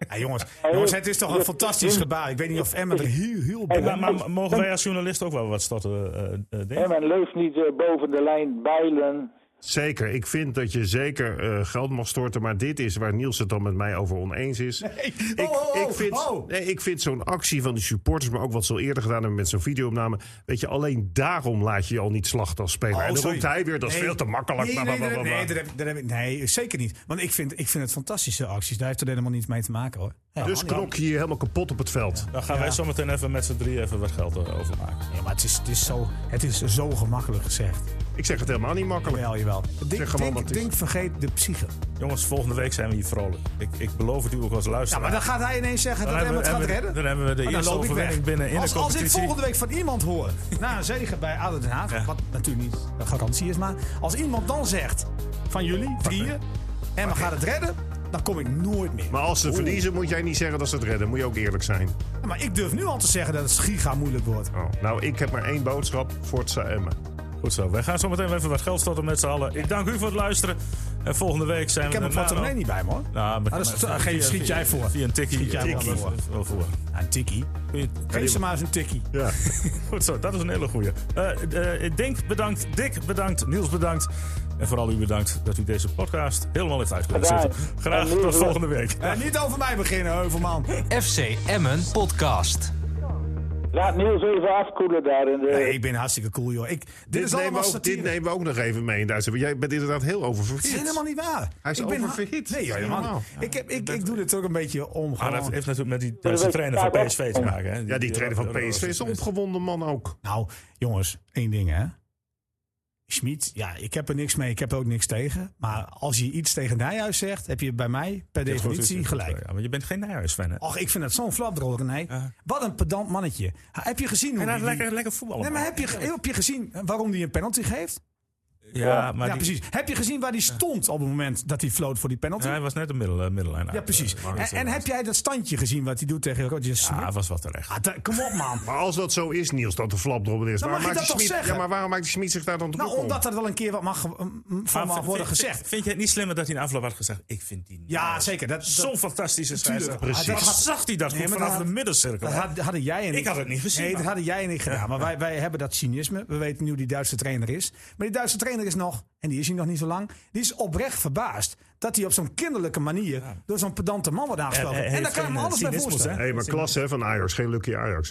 Speaker 4: Ja, jongens, jongens, het is toch een fantastisch gebaar. Ik weet niet of Emmen er heel, heel blij
Speaker 2: Maar, maar mogen wij als journalist ook wel wat storten, eh, eh, Dick?
Speaker 3: En men leeft niet eh, boven de lijn bijlen.
Speaker 5: Zeker. Ik vind dat je zeker eh, geld mag storten. Maar dit is waar Niels het dan met mij over oneens is. Ik,
Speaker 4: Oh, oh, oh,
Speaker 5: ik vind,
Speaker 4: oh.
Speaker 5: nee, ik vind zo'n actie van de supporters, maar ook wat ze al eerder gedaan hebben met zo'n videoopname. Weet je, alleen daarom laat je je al niet slachten als speler.
Speaker 4: Oh,
Speaker 5: en dan
Speaker 4: sorry.
Speaker 5: roept hij weer, dat is
Speaker 4: Nee.
Speaker 5: veel te makkelijk.
Speaker 4: Nee,
Speaker 5: bla,
Speaker 4: nee,
Speaker 5: bla,
Speaker 4: nee,
Speaker 5: bla, bla, bla.
Speaker 4: nee, daar heb- daar heb ik- nee, zeker niet. Want ik vind, ik vind het fantastische acties. Daar heeft er helemaal niets mee te maken hoor. Ja,
Speaker 5: dus
Speaker 4: man,
Speaker 5: knok je je helemaal kapot op het veld.
Speaker 2: Dan gaan wij zometeen even met z'n drie even wat geld eh, overmaken.
Speaker 4: Ja, maar het is, het, is zo, het is zo gemakkelijk gezegd.
Speaker 5: Ik zeg het helemaal niet makkelijk.
Speaker 4: Jawel, jawel. Dink,
Speaker 5: Zeg gewoon wat
Speaker 4: dink,
Speaker 5: het is.
Speaker 4: dink vergeet de psyche.
Speaker 2: Jongens, volgende week zijn we hier vrolijk. Ik, ik beloof het u ook als
Speaker 4: Ja,
Speaker 2: luisteraar.
Speaker 4: maar dan gaat hij ineens zeggen dat Emma
Speaker 2: hebben we-
Speaker 4: het gaat
Speaker 2: hebben we-
Speaker 4: redden.
Speaker 2: dan hebben we de
Speaker 4: Maar Oh, dan
Speaker 2: eerste
Speaker 4: loop ik
Speaker 2: overwinning
Speaker 4: weg.
Speaker 2: binnen in de
Speaker 4: als, als ik
Speaker 2: competitie.
Speaker 4: volgende week van iemand hoor, na een zege bij ADO Den Haag, wat natuurlijk niet een garantie is, maar als iemand dan zegt van jullie drieën, Emma gaat het redden, dan kom ik nooit meer.
Speaker 5: Maar als ze verliezen, moet jij niet zeggen dat ze het redden. Moet je ook eerlijk zijn.
Speaker 4: Maar ik durf nu al te zeggen dat het giga moeilijk wordt.
Speaker 5: Oh, Nou, ik heb maar één boodschap. Forza Emmen.
Speaker 2: Goed zo, wij gaan zometeen even wat geld storten met z'n allen. Ik dank u voor het luisteren. En volgende week zijn
Speaker 4: Ik
Speaker 2: we
Speaker 4: heb hem
Speaker 2: er
Speaker 4: van
Speaker 2: na-
Speaker 4: Tomé niet bij me hoor.
Speaker 2: Nou, maar,
Speaker 4: Ah, dat is-
Speaker 2: maar-
Speaker 4: ah, geef-
Speaker 2: via-
Speaker 4: schiet jij voor.
Speaker 2: Via een tikkie.
Speaker 4: Schiet jij
Speaker 2: Tikkie.
Speaker 4: voor.
Speaker 2: Wel voor.
Speaker 4: Nou, een tikkie. Geef ze maar eens een tikkie.
Speaker 5: Ja.
Speaker 2: Goed zo, dat is een hele goeie. Eh, eh, Dink bedankt, Dick bedankt, Niels bedankt. En vooral u bedankt dat u deze podcast helemaal heeft uitgelegd.
Speaker 3: Gedaan.
Speaker 2: Graag
Speaker 3: En
Speaker 2: tot
Speaker 3: lieve-
Speaker 2: volgende week.
Speaker 4: Ja, Eh, niet over mij beginnen, Heuvelman.
Speaker 1: FC Emmen podcast.
Speaker 3: Laat Niels even afkoelen daar in de.
Speaker 4: Nee, ik ben hartstikke cool, joh. Ik, dit,
Speaker 5: Dit,
Speaker 4: is
Speaker 5: nemen
Speaker 4: allemaal
Speaker 5: we ook,
Speaker 4: satire.
Speaker 5: dit nemen we ook nog even mee in Duitsland. Want Jij bent inderdaad heel
Speaker 4: Het
Speaker 5: oververhit.
Speaker 4: is helemaal niet waar.
Speaker 5: Hij is
Speaker 4: ik ben
Speaker 5: oververhit.
Speaker 4: Nee, joh,
Speaker 5: Ja,
Speaker 4: man.
Speaker 5: normaal.
Speaker 4: Ik, heb, ik, ik doe dit ook een beetje om.
Speaker 2: Maar
Speaker 4: Gewoon.
Speaker 2: dat heeft natuurlijk met die Duitse trainer van PSV te maken. Hè?
Speaker 5: Ja, die trainer van PSV is een opgewonden man ook.
Speaker 4: Nou, jongens, één ding, hè. Schmid, ja, ik heb er niks mee. Ik heb er ook niks tegen. Maar als je iets tegen Nijhuis zegt, heb je bij mij per definitie gelijk.
Speaker 2: Ja, maar je bent geen Nijhuis-fan, hè?
Speaker 4: Och, ik vind dat zo'n flapdrol, René.
Speaker 2: Ja.
Speaker 4: Wat een pedant mannetje. Ha, Heb je gezien hoe
Speaker 2: En
Speaker 4: die-
Speaker 2: hij
Speaker 4: die-
Speaker 2: lekker, lekker voetballen.
Speaker 4: Nee, maar
Speaker 2: man.
Speaker 4: heb je, heb je gezien waarom hij een penalty geeft?
Speaker 2: Ja, maar
Speaker 4: ja,
Speaker 2: die-
Speaker 4: precies. Heb je gezien waar hij stond op het moment dat hij floot voor die penalty?
Speaker 2: Ja, hij was net een middel, eh, middellijn.
Speaker 4: Ja,
Speaker 2: uit,
Speaker 4: precies.
Speaker 2: eh, maar-
Speaker 4: En, en heb jij dat standje gezien wat hij doet tegen Roger Smith?
Speaker 2: Ja, hij was wel terecht.
Speaker 4: Ah, da- kom op, man.
Speaker 5: Maar als dat zo is, Niels, dat de flapdrobbel is.
Speaker 4: Dan
Speaker 5: waarom
Speaker 4: mag je
Speaker 5: maakt
Speaker 4: dat toch
Speaker 5: die Schmid-
Speaker 4: zeggen?
Speaker 5: Ja, maar waarom maakt die Smit zich daar dan druk
Speaker 4: Nou,
Speaker 5: om?
Speaker 4: omdat er wel een keer wat mag, mm, van
Speaker 2: Maar
Speaker 4: mag
Speaker 2: vind-
Speaker 4: worden
Speaker 2: vind-
Speaker 4: gezegd.
Speaker 2: Vind je het niet slimmer dat hij een afloop had gezegd? Ik vind die.
Speaker 4: Ja, zeker. Dat, dat-
Speaker 2: Zo'n fantastische scheidsrechter.
Speaker 5: precies.
Speaker 2: Precies. zag hij dat
Speaker 4: Nee,
Speaker 2: goed
Speaker 4: maar
Speaker 2: vanaf
Speaker 4: dat-
Speaker 2: de middencirkel.
Speaker 4: dat had- hadden jij en ik.
Speaker 2: Ik had het niet gezien,
Speaker 4: Nee, dat
Speaker 2: maar-
Speaker 4: hadden jij en ik gedaan. Maar wij, wij hebben dat cynisme. We weten nu hoe die Duitse trainer is. Maar die Duitse trainer is nog, en die is hier nog niet zo lang, die is oprecht verbaasd dat hij op zo'n kinderlijke manier door zo'n pedante man wordt aangesproken.
Speaker 2: Hij- hij
Speaker 4: en daar
Speaker 2: heeft
Speaker 4: kan ik me
Speaker 2: geen, eh,
Speaker 4: alles bij
Speaker 2: cynisme,
Speaker 4: voorstellen.
Speaker 5: Hé, maar klasse hè, van Ajax. Geen lucky Ajax, hè?